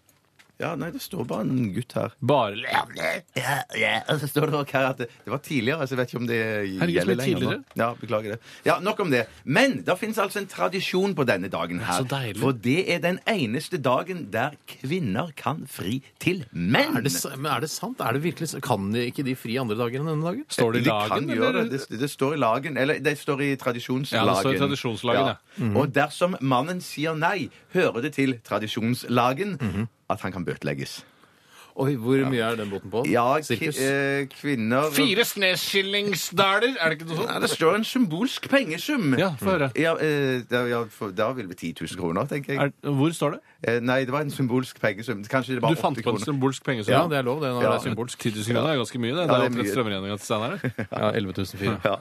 D: ja, nei, det står bare en gutt her.
E: Bare Leander.
D: Ja, ja. Og så står det også her at det, det var tidligere, så jeg vet ikke om det
E: Herregud,
D: gjelder
E: så mye
D: lenger. nå.
E: tidligere.
D: Ja, beklager det. Ja, Nok om det. Men det fins altså en tradisjon på denne dagen her.
E: Så deilig.
D: For det er den eneste dagen der kvinner kan fri til menn.
C: Er det, s- men er det sant? Er det virkelig, s- kan de ikke de fri andre dager enn denne dagen?
E: Står det i
D: de
E: lagen?
D: kan gjøre
E: eller?
D: det. det. Det står i lagen, eller det står i tradisjonslagen.
E: Ja, det står i tradisjonslagen, ja.
D: Og dersom mannen sier nei, hører det til tradisjonslagen at han kan bøtelegges.
C: Oi, hvor mye er den båten på?
D: Ja, ki
C: Sirkus?
D: eh, kvinner
E: Fire sneskillingsdaler, Mm, er det ikke noe
D: Nei,
E: sånt?
D: det står en symbolsk pengesum.
E: Ja, få høre.
D: Ja, eh, da, ja, for, da vil vi 10 000 kroner, tenker jeg.
E: Er, hvor står det?
D: Eh, nei, det var en symbolsk pengesum. Kanskje det var
E: Du fant
D: 80
E: på en
D: kroner.
E: symbolsk pengesum?
C: Ja, det er lov, det. Når
D: Ja.
C: det er symbolsk.
E: 10 000 kroner er ganske mye, det.
D: Ja,
E: det
D: det
E: er
D: er
E: omtrent
D: mye.
E: strømregninga til Steinar. det.
C: Ja, 11 400.
D: Ja.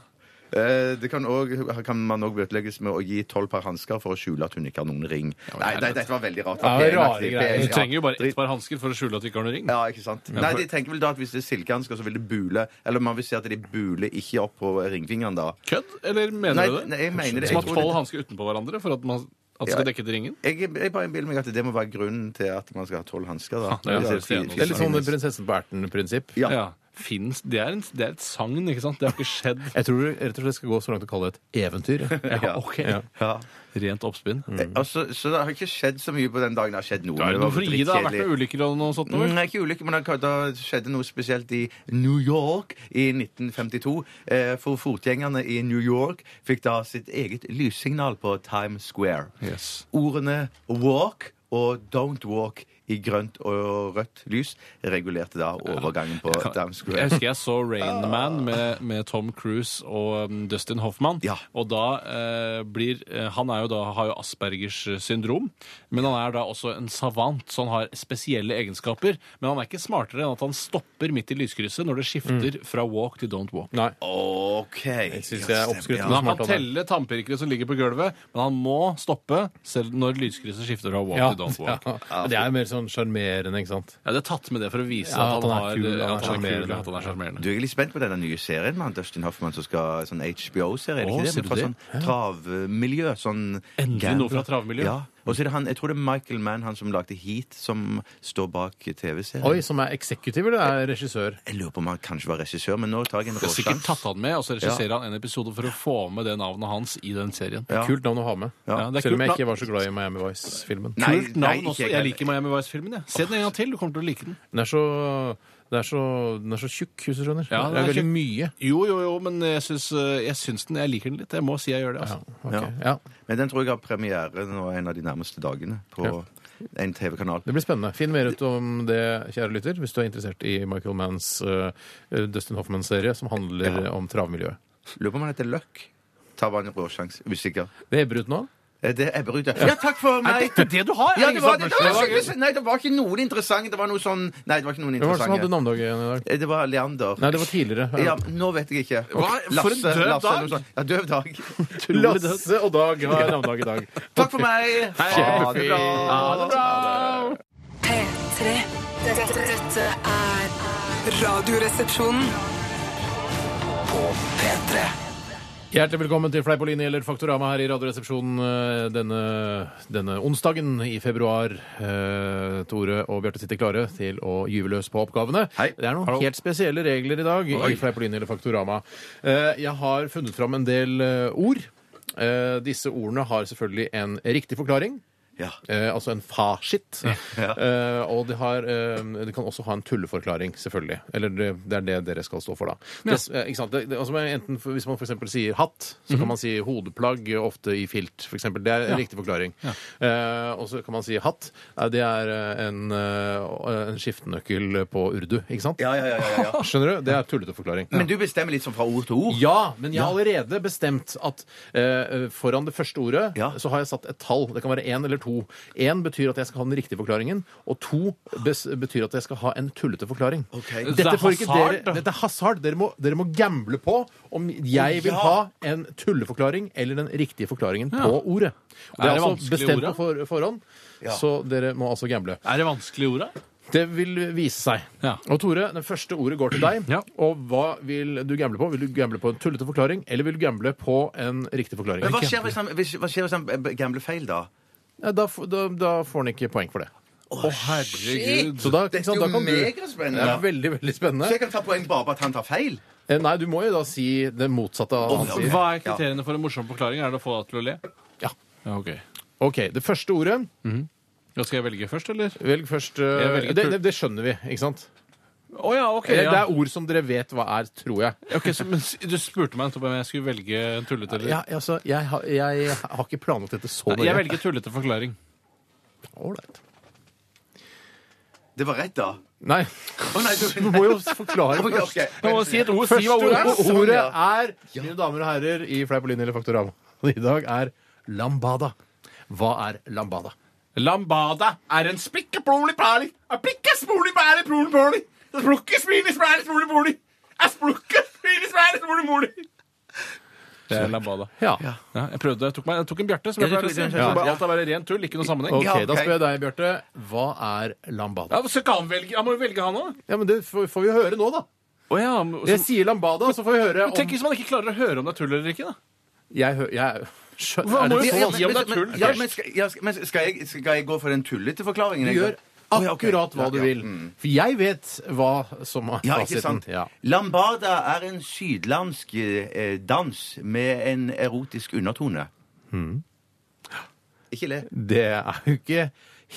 D: Eh, Det kan, også, kan man òg bøtelegges med å gi tolv par hansker for å skjule at hun ikke har noen ring. Nei, nei, dette var veldig rart.
C: Ja,
D: Ok,
C: rare
D: merkelig.
C: greier.
D: Ja,
E: Du trenger jo bare
D: drit-
E: ett par hansker for å skjule at du ikke har noen ring.
D: Ja, ikke sant? Nei, de tenker vel da at hvis det er silkehansker, så vil det bule Eller man vil si at de buler ikke opp på ringfingeren da.
E: Kødd, eller mener
D: Nei,
E: du det?
D: nei, jeg mener det. Jeg
E: Som at
D: tror
E: tolv
D: det-
E: hansker utenpå hverandre for at, man, at det
D: Ja.
E: skal dekke til ringen?
D: Jeg, jeg bare innbiller meg at det må være grunnen til at man skal ha tolv hansker. da.
E: det er
D: Hvis
E: det
D: fire-
E: eneste.
C: Det er litt sånn
D: fire-
C: prinsessen på erten-prinsipp.
D: Ja.
E: Ja. Finnes, det, er en, det er et sagn, ikke sant? Det har ikke skjedd.
C: Jeg tror du rett og slett skal gå så langt å kalle det et eventyr.
E: Ja, ok.
C: Ja.
D: Ja.
E: Rent oppspinn.
D: Eh, Altså, så det har ikke skedd så mye på den dagen. Det har skjedd noe. men
E: Er
D: det
E: det
D: var
E: noe for å gi deg? Har det vært
D: dritkjedelig.
E: noen ulykker og noe sånt?
D: Mm,
E: Over?
D: Nei, ikke ulykke, men da, da skjedde noe spesielt i New York i 1952. Eh, for fotgjengerne i New York fikk da sitt eget lyssignal på Times Square.
E: Yes.
D: Ordene 'walk' og 'don't walk' i grønt og rødt lys regulerte da overgangen på Times
E: Jeg
D: Square.
E: husker jeg så Rain Man med, med Tom Cruise og um, Dustin Hoffman.
D: Ja.
E: Og da eh, blir eh, Han er jo da, har jo Aspergers syndrom, men han er da også en savant, så han har spesielle egenskaper. Men han er ikke smartere enn at han stopper midt i lyskrysset når det skifter
C: Mm.
E: fra walk til don't walk.
C: Nei.
D: OK.
C: Jeg synes det er oppskrytt.
D: Ja,
E: Men han
C: smart
E: kan
C: han er.
E: telle tannpirkere som ligger på gulvet, men han må stoppe selv når lyskrysset skifter fra walk
C: Ja,
E: til don't
C: ja.
E: walk.
C: Men Det er jo mer sånn sjarmerende, ikke sant?
E: Ja, det er tatt med det for å vise
C: Ja,
E: at han, har, eh,
C: kul, han er
E: at han er
C: sjarmerende.
E: kul, at han er sjarmerende.
D: Du er litt spent på denne nye serien med han Dustin Hoffman som skal sånn HBO-serie. er det ikke
E: Å,
D: det?
E: ser
D: Men
E: du
D: Fra
E: det?
D: sånn travmiljø. Sånn
E: Endelig noe fra travmiljø.
D: Ja. Og så er det han, jeg tror det er Michael Mann, han som lagde Heat, som står bak
C: Oi,
D: TV-serien.
C: som er eksekutiv eller er regissør?
D: Jeg lurer på om han kanskje var regissør, men nå tar jeg en
E: Det er sikkert tatt
D: råsjans.
E: han med, og så regisserer han en episode for å få med det navnet hans i den serien.
D: Ja.
C: Kult navn å ha med.
E: Ja, det er
C: Selv om jeg
E: kult
C: ikke var så glad i Miami Vice-filmen.
D: Nei,
E: Kult navn
D: nei,
E: også.
D: ikke
E: Jeg
D: jeg
E: liker Miami Vice-filmen. jeg. Se den en gang til, du kommer til å like den.
C: Den er så, den er så, den er så tjukk, hvis du skjønner.
E: Ja,
C: det er
E: den
C: veldig
E: er tjukk.
C: mye.
E: Jo, jo, jo, men jeg syns, eh, jeg syns den. Jeg liker den litt. Jeg må si jeg gjør det.
C: Ja,
E: altså.
C: ok.
D: Ja.
C: ja.
D: Men den tror jeg har premiere nå en av de nærmeste dagene på en TV-kanal.
C: Det blir spennende. Finn mer ut om det, kjære lytter, hvis du er interessert i Michael Manns eh, Dustin Hoffman-serie som handler om travmiljøet.
D: Lurer på om han heter Løkk. Tar bare en råsjans. Usikker.
C: Det ebber ut nå.
D: Eh, Det ebber ut. ja. Ja, takk for meg!
E: Det er det du har!
D: Ja,
E: er
D: det
E: det
D: var,
E: ikke
D: det,
E: sant?
D: var, nei, det var ikke noen interessante. Det var noe sånn Nei, det var ikke noen
C: Hvem var det som hadde
D: interessante.
C: navnedagen i dag?
D: Eh, Det var Leander.
C: Nei, det var tidligere.
D: Ja, nå vet jeg ikke.
E: Hva? For en døv
D: Lasse,
E: dag!
D: noe sånt. Ja, døv dag.
C: Lasse og Dag har navnedag i dag.
D: Takk for meg! Ha det bra!
A: P3. Dette, dette er Radioresepsjonen.
B: P3
C: Hjertelig velkommen til Fleipolini eller Faktorama her i Radioresepsjonen eh, denne, denne onsdagen i februar. Eh, Tore og Bjarte sitter klare til å gyve løs på oppgavene.
D: Hei.
C: Det er noen
D: Hallo.
C: helt spesielle regler i dag i Fleipolini eller Faktorama. Eh, Jeg har funnet fram en del eh, ord. Eh, Disse ordene har selvfølgelig en riktig forklaring.
D: Ja.
C: Eh, altså en fasit. Eh, og det, har, eh, det kan også ha en tulleforklaring, selvfølgelig. Eller det, det er det dere skal stå for, da. Det, eh, ikke sant? Det, det, altså enten, for- hvis man f.eks. sier hatt, så kan man si hodeplagg, ofte i filt, f.eks. Det er en riktig forklaring. Eh, og så kan man si hatt. Nei, det er eh, en, eh, en skiftenøkkel på urdu, ikke sant?
D: Ja, ja, ja, ja, ja.
C: Skjønner du? Det er tullete forklaring.
D: Men du bestemmer litt sånn fra ord til ord?
C: Ja, men jeg har allerede bestemt at eh, foran det første ordet
D: Ja.
C: så har jeg satt et tall. Det kan være én eller to. Én betyr at jeg skal ha den riktige forklaringen, og to bes betyr at jeg skal ha en tullete forklaring.
D: Ok.
E: Det
C: Dette,
E: er
C: får ikke
E: hasard, da.
C: dere, dette er hasard. Dere må, dere må gamble på om jeg vil
D: ja.
C: ha en tulleforklaring eller den riktige forklaringen på ordet. Og det er,
E: Er det
C: altså
E: vanskelige
C: bestemt
E: ordet?
C: på for forhånd, så dere må altså gamble.
E: Er det vanskelige orda?
C: Det vil vise seg.
E: Ja.
C: Og Tore, det første ordet går til deg.
E: Ja.
C: Og hva vil du gamble på? Vil du gamble på en tullete forklaring, eller vil du gamble på en riktig forklaring?
D: Men hva skjer hvis han, hvis, hva skjer hvis han b- gambler feil, da?
C: Ja, da, f- da, da får han ikke poeng for det.
E: Å, herregud.
C: Så da,
D: Dette
C: ikke sant,
D: er jo
C: da kan du...
D: megaspennende.
C: Det er veldig, veldig
D: Så
C: spennende.
D: jeg kan ta poeng bare på at han tar feil?
C: Eh, Nei, du må jo da si det motsatte av hva han sier.
E: Hva er kriteriene for en morsom forklaring? Er det å få deg til å le?
C: Ja.
E: Ja, ok.
C: OK. Det første ordet
E: Da skal jeg velge først, eller?
C: Velg først eh,
E: velger
C: det,
E: tull-
C: det, det skjønner vi, ikke sant?
E: Å ja, ok.
C: Eller, Det
E: Ja.
C: er ord som dere vet hva er, tror jeg.
E: Ok, så, men, s- du spurte meg nettopp om jeg skulle velge en tullete eller
C: Ja, altså, jeg, har- jeg har ikke planlagt dette så
E: Nei, Jeg velger tullete forklaring.
C: Ålreit.
D: Det var rett, da.
C: Nei,
D: Å, nei,
C: du må jo forklare
D: Oi,
C: først.
D: ok.
E: Jeg må si et ord. Si hva
C: Første
E: ordet er.
D: Sånn,
C: ordet
D: ja.
C: er, mine damer og herrer, i Fleipolin eller Faktorama i dag er lambada. Hva er lambada?
E: Lambada er en splikkepoli-pali. Aplikkespoli-pali-poli-poli. Splukkespili-spæli-spoli-poli. Asplukkespili-spæli-spoli-poli. Det er lambada.
C: Ja.
E: Ja, jeg prøvde. Jeg tok, meg, jeg tok en Bjarte. som
D: Ja,
E: jeg
D: du
E: pleier å
D: tok
E: si.
D: en
E: Så
D: Bjarte.
E: bare
D: Ja.
E: Alt er bare rent tull, ikke noe sammenheng.
C: Ok,
D: Ja, ok.
C: da spør jeg deg, Bjarte. Hva er
E: Ja,
C: lambada?
E: men skal ikke han velge? Han må jo velge, han òg.
C: Ja, men Det får, får vi høre nå, da. Altså,
E: Oh, ja. men-
C: Jeg
E: så-
C: sier lambada, så får vi høre om
E: Tenk hvis man ikke klarer å høre om det er tull eller ikke. da.
C: Jeg hører jeg, Skjø-
E: Hva,
C: er
E: må
C: det sånn så
E: jo få
C: vanskelig?
E: si om det er tull
D: Ja,
E: først.
D: men skal, ja, skal- men skal, jeg, skal jeg gå for den tullete forklaringen?
C: Du
D: jeg?
C: gjør
D: Å, ja, ok.
C: akkurat hva du
D: Ja, ja.
C: vil. For jeg vet hva som er
D: Ja, ikke
C: fasiten.
D: sant?
C: Ja.
D: Lambada er en sydlandsk eh, dans med en erotisk undertone. Ikke le.
C: Det er jo ikke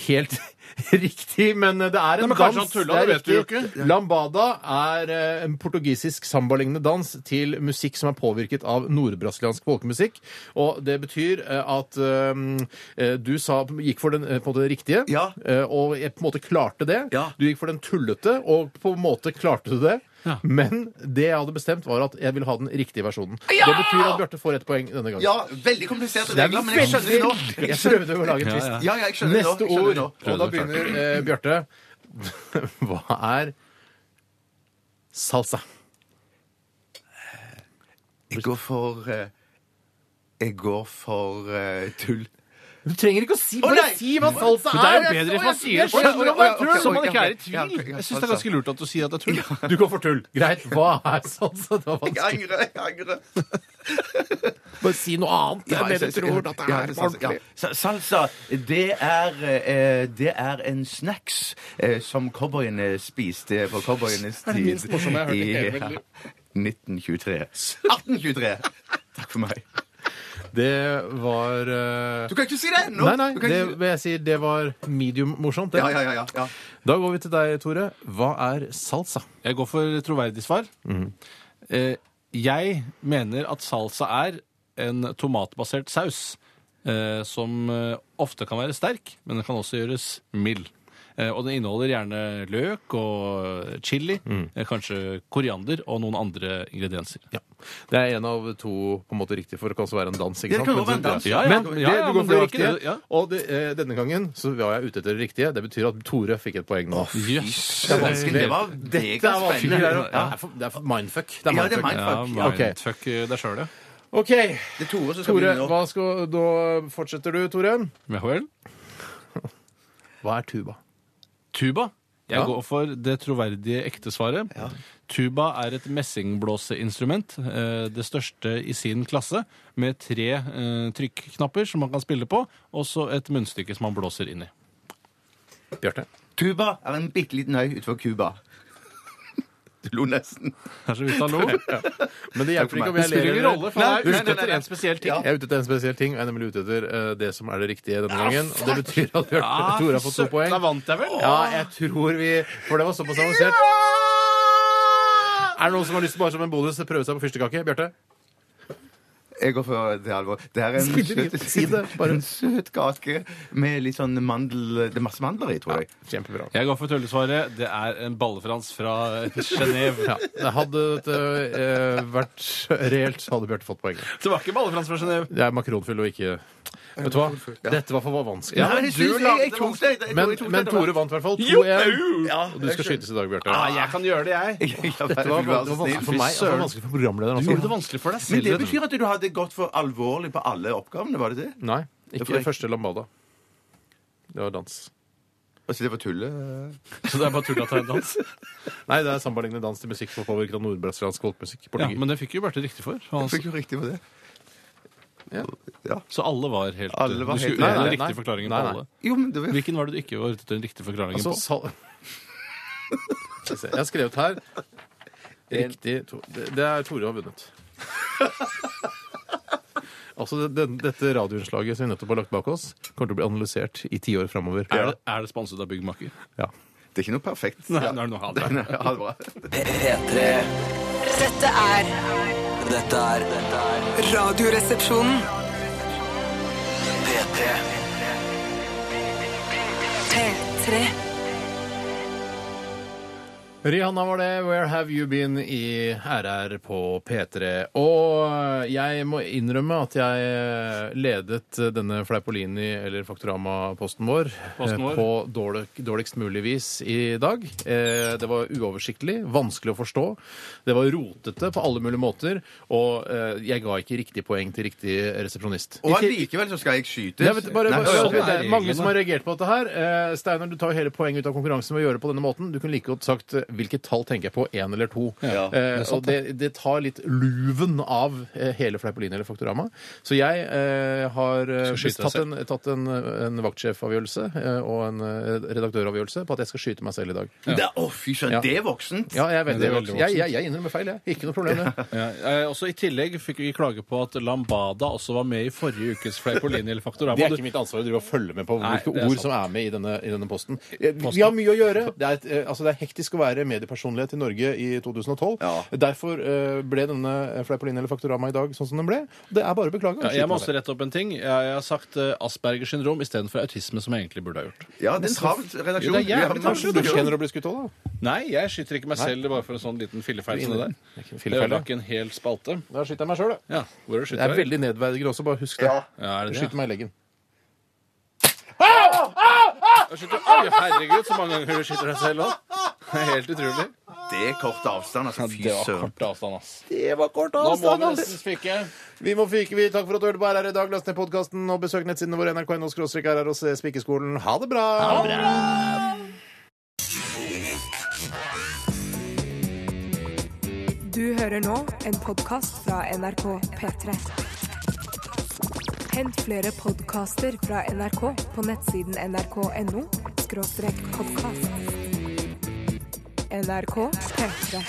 C: helt riktig, men det er en
E: Nei, men kanskje
C: dans.
E: han tulla,
C: er
E: det vet du jo
C: riktig. Lambada er eh, en portugisisk sambalignende dans til musikk som er påvirket av nordbrasiliansk folkemusikk. Og det betyr eh, at eh, du sa, gikk for den eh, på det riktige,
D: Ja.
C: eh, og jeg på en måte klarte det.
D: Ja.
C: Du gikk for den tullete, og på en måte klarte du det.
E: Ja.
C: Men det jeg hadde bestemt, var at jeg ville ha den riktige versjonen. Det betyr at Bjarte får ett poeng denne gangen.
D: Ja, veldig kompliserte
C: Det er
D: regler, men jeg skjønner det nå.
C: Jeg prøvde å lage en
E: Ja,
C: twist.
E: ja.
D: Ja, ja, jeg skjønner det nå.
C: Neste
D: Jeg skjønner
C: ord,
D: det nå.
C: og da begynner eh, Bjarte. Hva er salsa?
D: Jeg går for eh, Jeg går for eh, tull.
C: Du trenger ikke å si,
D: bare si
C: hva salsa
E: Men det er jo bedre hvis man sier det
D: jeg skjønner om det er tull.
E: så man ikke er i
D: Ja,
E: tvil.
D: ok, ja,
E: Jeg syns det er ganske lurt at du sier at det er tull.
C: Du går for tull. Greit. Hva er salsa? Det var
D: Jeg
C: vanskelig.
D: angrer, jeg angrer.
C: Bare si noe annet.
D: Ja, jeg
C: enn det
D: synes-
C: du tror at det
D: ja,
C: er
D: salsa, ja.
C: ordentlig.
D: Sa- Salsa, det er, eh, det er en snacks eh, som cowboyene spiste på cowboyenes tid. eh,
C: minst morsomme jeg har hørt i hele mitt liv.
D: 1923. 1823! Takk for meg.
C: Det var eh,
D: Du kan ikke si det ennå!
C: Nei, nei,
D: Du kan
C: det,
D: ikke si-
C: jeg sier det var medium morsomt. det.
D: Ja, ja, ja, ja, ja.
C: Da går vi til deg, Tore. Hva er salsa?
E: Jeg går for troverdig svar. Eh, jeg mener at salsa er en tomatbasert saus eh, som eh, ofte kan være sterk, men den kan også gjøres mild. Eh, og den inneholder gjerne løk og chili, eh, kanskje koriander og noen andre ingredienser.
C: Ja. Det er en av to på en måte riktige, for det kan også være en dans. ikke
D: Det
C: sant?
D: kan jo være en dans.
E: Ja, ja.
C: Men
E: Ja,
C: det,
E: ja,
C: du går
E: men
C: for det
E: det var ikke
C: riktige.
E: det, ja.
C: Og det, eh, denne gangen så var jeg ute etter det riktige. Det betyr at Tore fikk et poeng nå.
E: Yes.
D: Det er vanskelig. Det var
C: Dette er vanskelig.
D: spennende.
C: Det er- Det er for- det er for mindfuck. Det
D: Ja, det er mindfuck.
E: Ja,
C: Ok.
E: mindfuck deg sjøl, ja.
C: OK.
D: Det er Tore som skal
C: Tore,
D: begynne nå.
C: hva skal, da fortsetter du, Tore.
E: Ja vel.
C: Hva er tuba?
E: Tuba. Jeg
C: Ja.
E: går for det troverdige ekte svaret. Tuba er et messingblåseinstrument, eh, det største i sin klasse, med tre eh, trykknapper som man kan spille på, og så et munnstykke som man blåser inn i.
C: Bjarte.
D: Tuba er en bitte liten øy utenfor Cuba. Du lo nesten.
E: Det er så vidt han lo. Det
C: Men det hjelper ikke
D: Takk for
C: om jeg
D: meg.
E: spiller
C: ler
E: ingen
C: eller
E: rolle, for han er
D: Nei, nei,
E: ute
D: nei,
E: etter
D: nei.
E: en spesiell ting.
D: Ja.
C: Jeg er ute etter en spesiell ting. Jeg er nemlig ute etter eh, det som er det riktige denne gangen. Og det betyr at Bjarte
E: Ah,
C: Tore har fått to
E: søren,
C: poeng.
E: Da vant jeg vel?
C: Ja, jeg tror vi For det var såpass avansert. Er det noen som har lyst til bare som en bonus å prøve seg på fyrstekake? Bjarte?
D: Jeg går for det alvor. Det er en
C: Spiller ingen-
D: søt,
C: si det, bare.
D: en søt kake med litt sånn mandel Det er masse mandler i, tror jeg.
C: Kjempebra.
E: Jeg går for tullesvaret. Det er en ballefrans fra Genéve.
C: Ja, det hadde dette eh, vært reelt, så hadde Bjarte fått poeng.
E: Det var ikke ballefrans fra Genéve.
C: Det er makronfyll og ikke Vet du hva? Dette var for vanskelig.
D: Nei, men jeg, synes, jeg, jeg tok det. Jeg,
C: men,
D: jeg tok
C: men
D: det.
C: Tore vant i hvert fall. 2-1. Og du skal skytes i dag, Bjarte.
E: Ja, jeg kan gjøre det, jeg.
D: Ja,
C: Dette var,
D: vær
C: det var
D: så
C: vanskelig
D: snill.
C: for meg altså. og det var vanskelig for programlederen
E: Du gjorde det
C: også.
E: vanskelig for deg
D: Men
E: selv.
D: det
E: vet du.
D: betyr at du hadde gått for alvorlig på alle oppgavene, var det det?
C: Nei, ikke første lambada. Det var dans.
D: Altså, det var tullet?
E: Så det er bare tull at det er en dans.
C: Nei, det er sambalignende dans til musikk for påvirket av nordbrasiliansk folkemusikk.
E: Ja,
C: Portugis.
E: men det fikk jo Bjarte riktig for. Han
D: Fikk jo riktig på det.
E: Så alle var helt
D: Alle var
E: Du
D: helt-
E: skulle
D: Nei,
E: ha
D: nei,
E: den
C: nei.
E: riktige forklaringen
C: Nei,
E: på
C: nei.
E: alle.
D: Jo, men det var
E: Hvilken var det du ikke var ute etter den riktige forklaringen
C: Altså,
E: på?
C: sal... Skal vi se, Jeg har skrevet her Riktig to... det, det er Tore har vunnet. Altså, det, den- Dette radioinnslaget som vi nettopp har lagt bak oss, kommer til å bli analysert i tiår framover.
E: Er det, er det sponset av Byggmaker?
C: Ja.
D: Det er ikke noe perfekt.
E: Nei,
D: Ja.
E: det er noe annet.
D: Nei, Ha det bra.
B: P3.
H: Dette er
B: Dette er dette er
H: Radioresepsjonen.
B: P3.
H: P3.
C: Rihanna var det. Where have you been i RR på P3. Og jeg må innrømme at jeg eh, ledet denne Fleipolini, eller Faktorama-posten vår,
E: Posten vår.
C: eh, på dårlig, dårligst mulig vis i dag. Eh, Det var uoversiktlig, vanskelig å forstå. Det var rotete på alle mulige måter, og eh, jeg ga ikke riktig poeng til riktig resepsjonist.
D: Og allikevel så skal jeg skytes.
C: Ja, vet, du, bare,
D: Nei,
C: bare,
D: ok,
C: sånn,
D: ok.
C: det er mange som har reagert på dette her. Eh, Steinar, du tar jo hele poenget ut av konkurransen ved å gjøre det på denne måten. Du kunne like godt sagt eh, hvilket tall tenker jeg på, én eller to.
D: Ja, det
C: eh, og det, det tar litt luven av eh, hele Fleipolini eller Faktorama. Så jeg eh, har eh,
E: Skal skyte deg
C: tatt, en, tatt en, en vaktsjefavgjørelse eh, og en eh, redaktøravgjørelse på at jeg skal skyte meg selv i dag.
D: Det er- Å, fy søren,
C: Ja.
D: det er voksent!
C: Ja, jeg vet
E: det
C: det.
E: er veldig
C: Jeg, jeg, jeg innrømmer feil, jeg. Ikke noe problem med det.
E: Ja, eh, også I tillegg fikk vi klage på at Lambada også var med i forrige ukes Fleipolini eller Faktorama.
C: Det er ikke mitt ansvar å drive og følge med på
E: Nei,
C: hvilke
E: det er
C: ord
E: sant.
C: som er med i denne, i denne posten. Eh, Vi har mye å gjøre. Det er, et, eh, altså det er hektisk å være mediepersonlighet i Norge i 2012.
D: Ja.
C: Derfor eh, ble denne Fleipolini eller Faktorama i dag sånn som den ble. Det er bare å beklage.
E: Ja, jeg
C: Skyt meg
E: må også rette opp en ting. Jeg, jeg har sagt eh, Aspergers syndrom istedenfor autisme, som jeg egentlig burde ha gjort.
D: Ja, det er en travel redaksjon.
E: Jo, det er
D: Vi
E: jævlig
D: har
E: travelt.
D: masse å
C: ned. Du
D: gjøre.
C: kjenner å bli skutt òg, da.
E: Nei, jeg skyter ikke meg selv bare for en sånn liten fillefeil som det der.
C: Det er ikke en
E: Det
C: fillefeil,
E: ødela
C: det.
E: ikke en hel spalte.
C: Da skyter jeg meg sjøl, da.
E: Ja, hvor er det
C: Det er
E: skyter jeg?
C: veldig nedverdigende også, bare husk det.
E: Ja, er det det?
C: Skyter meg i leggen.
E: Jeg skyter- Oi, herregud, så mange ganger du skyter deg selv òg. Helt utrolig.
D: Det er kort avstand, altså. Fy
E: Det var
D: søren.
E: kort avstand, ass.
C: Det var kort
E: Nå må vi nesten spike.
C: Vi må fyke, vi. Takk for at du hørte på RR i dag. Last ned podkasten og besøk nettsidene våre nrk.no RR og se Spikeskolen. Ha det bra!
A: Du hører nå en podkast fra NRK P3. Hent flere podkaster fra NRK på nettsiden nrk.no podkast. NRK P3.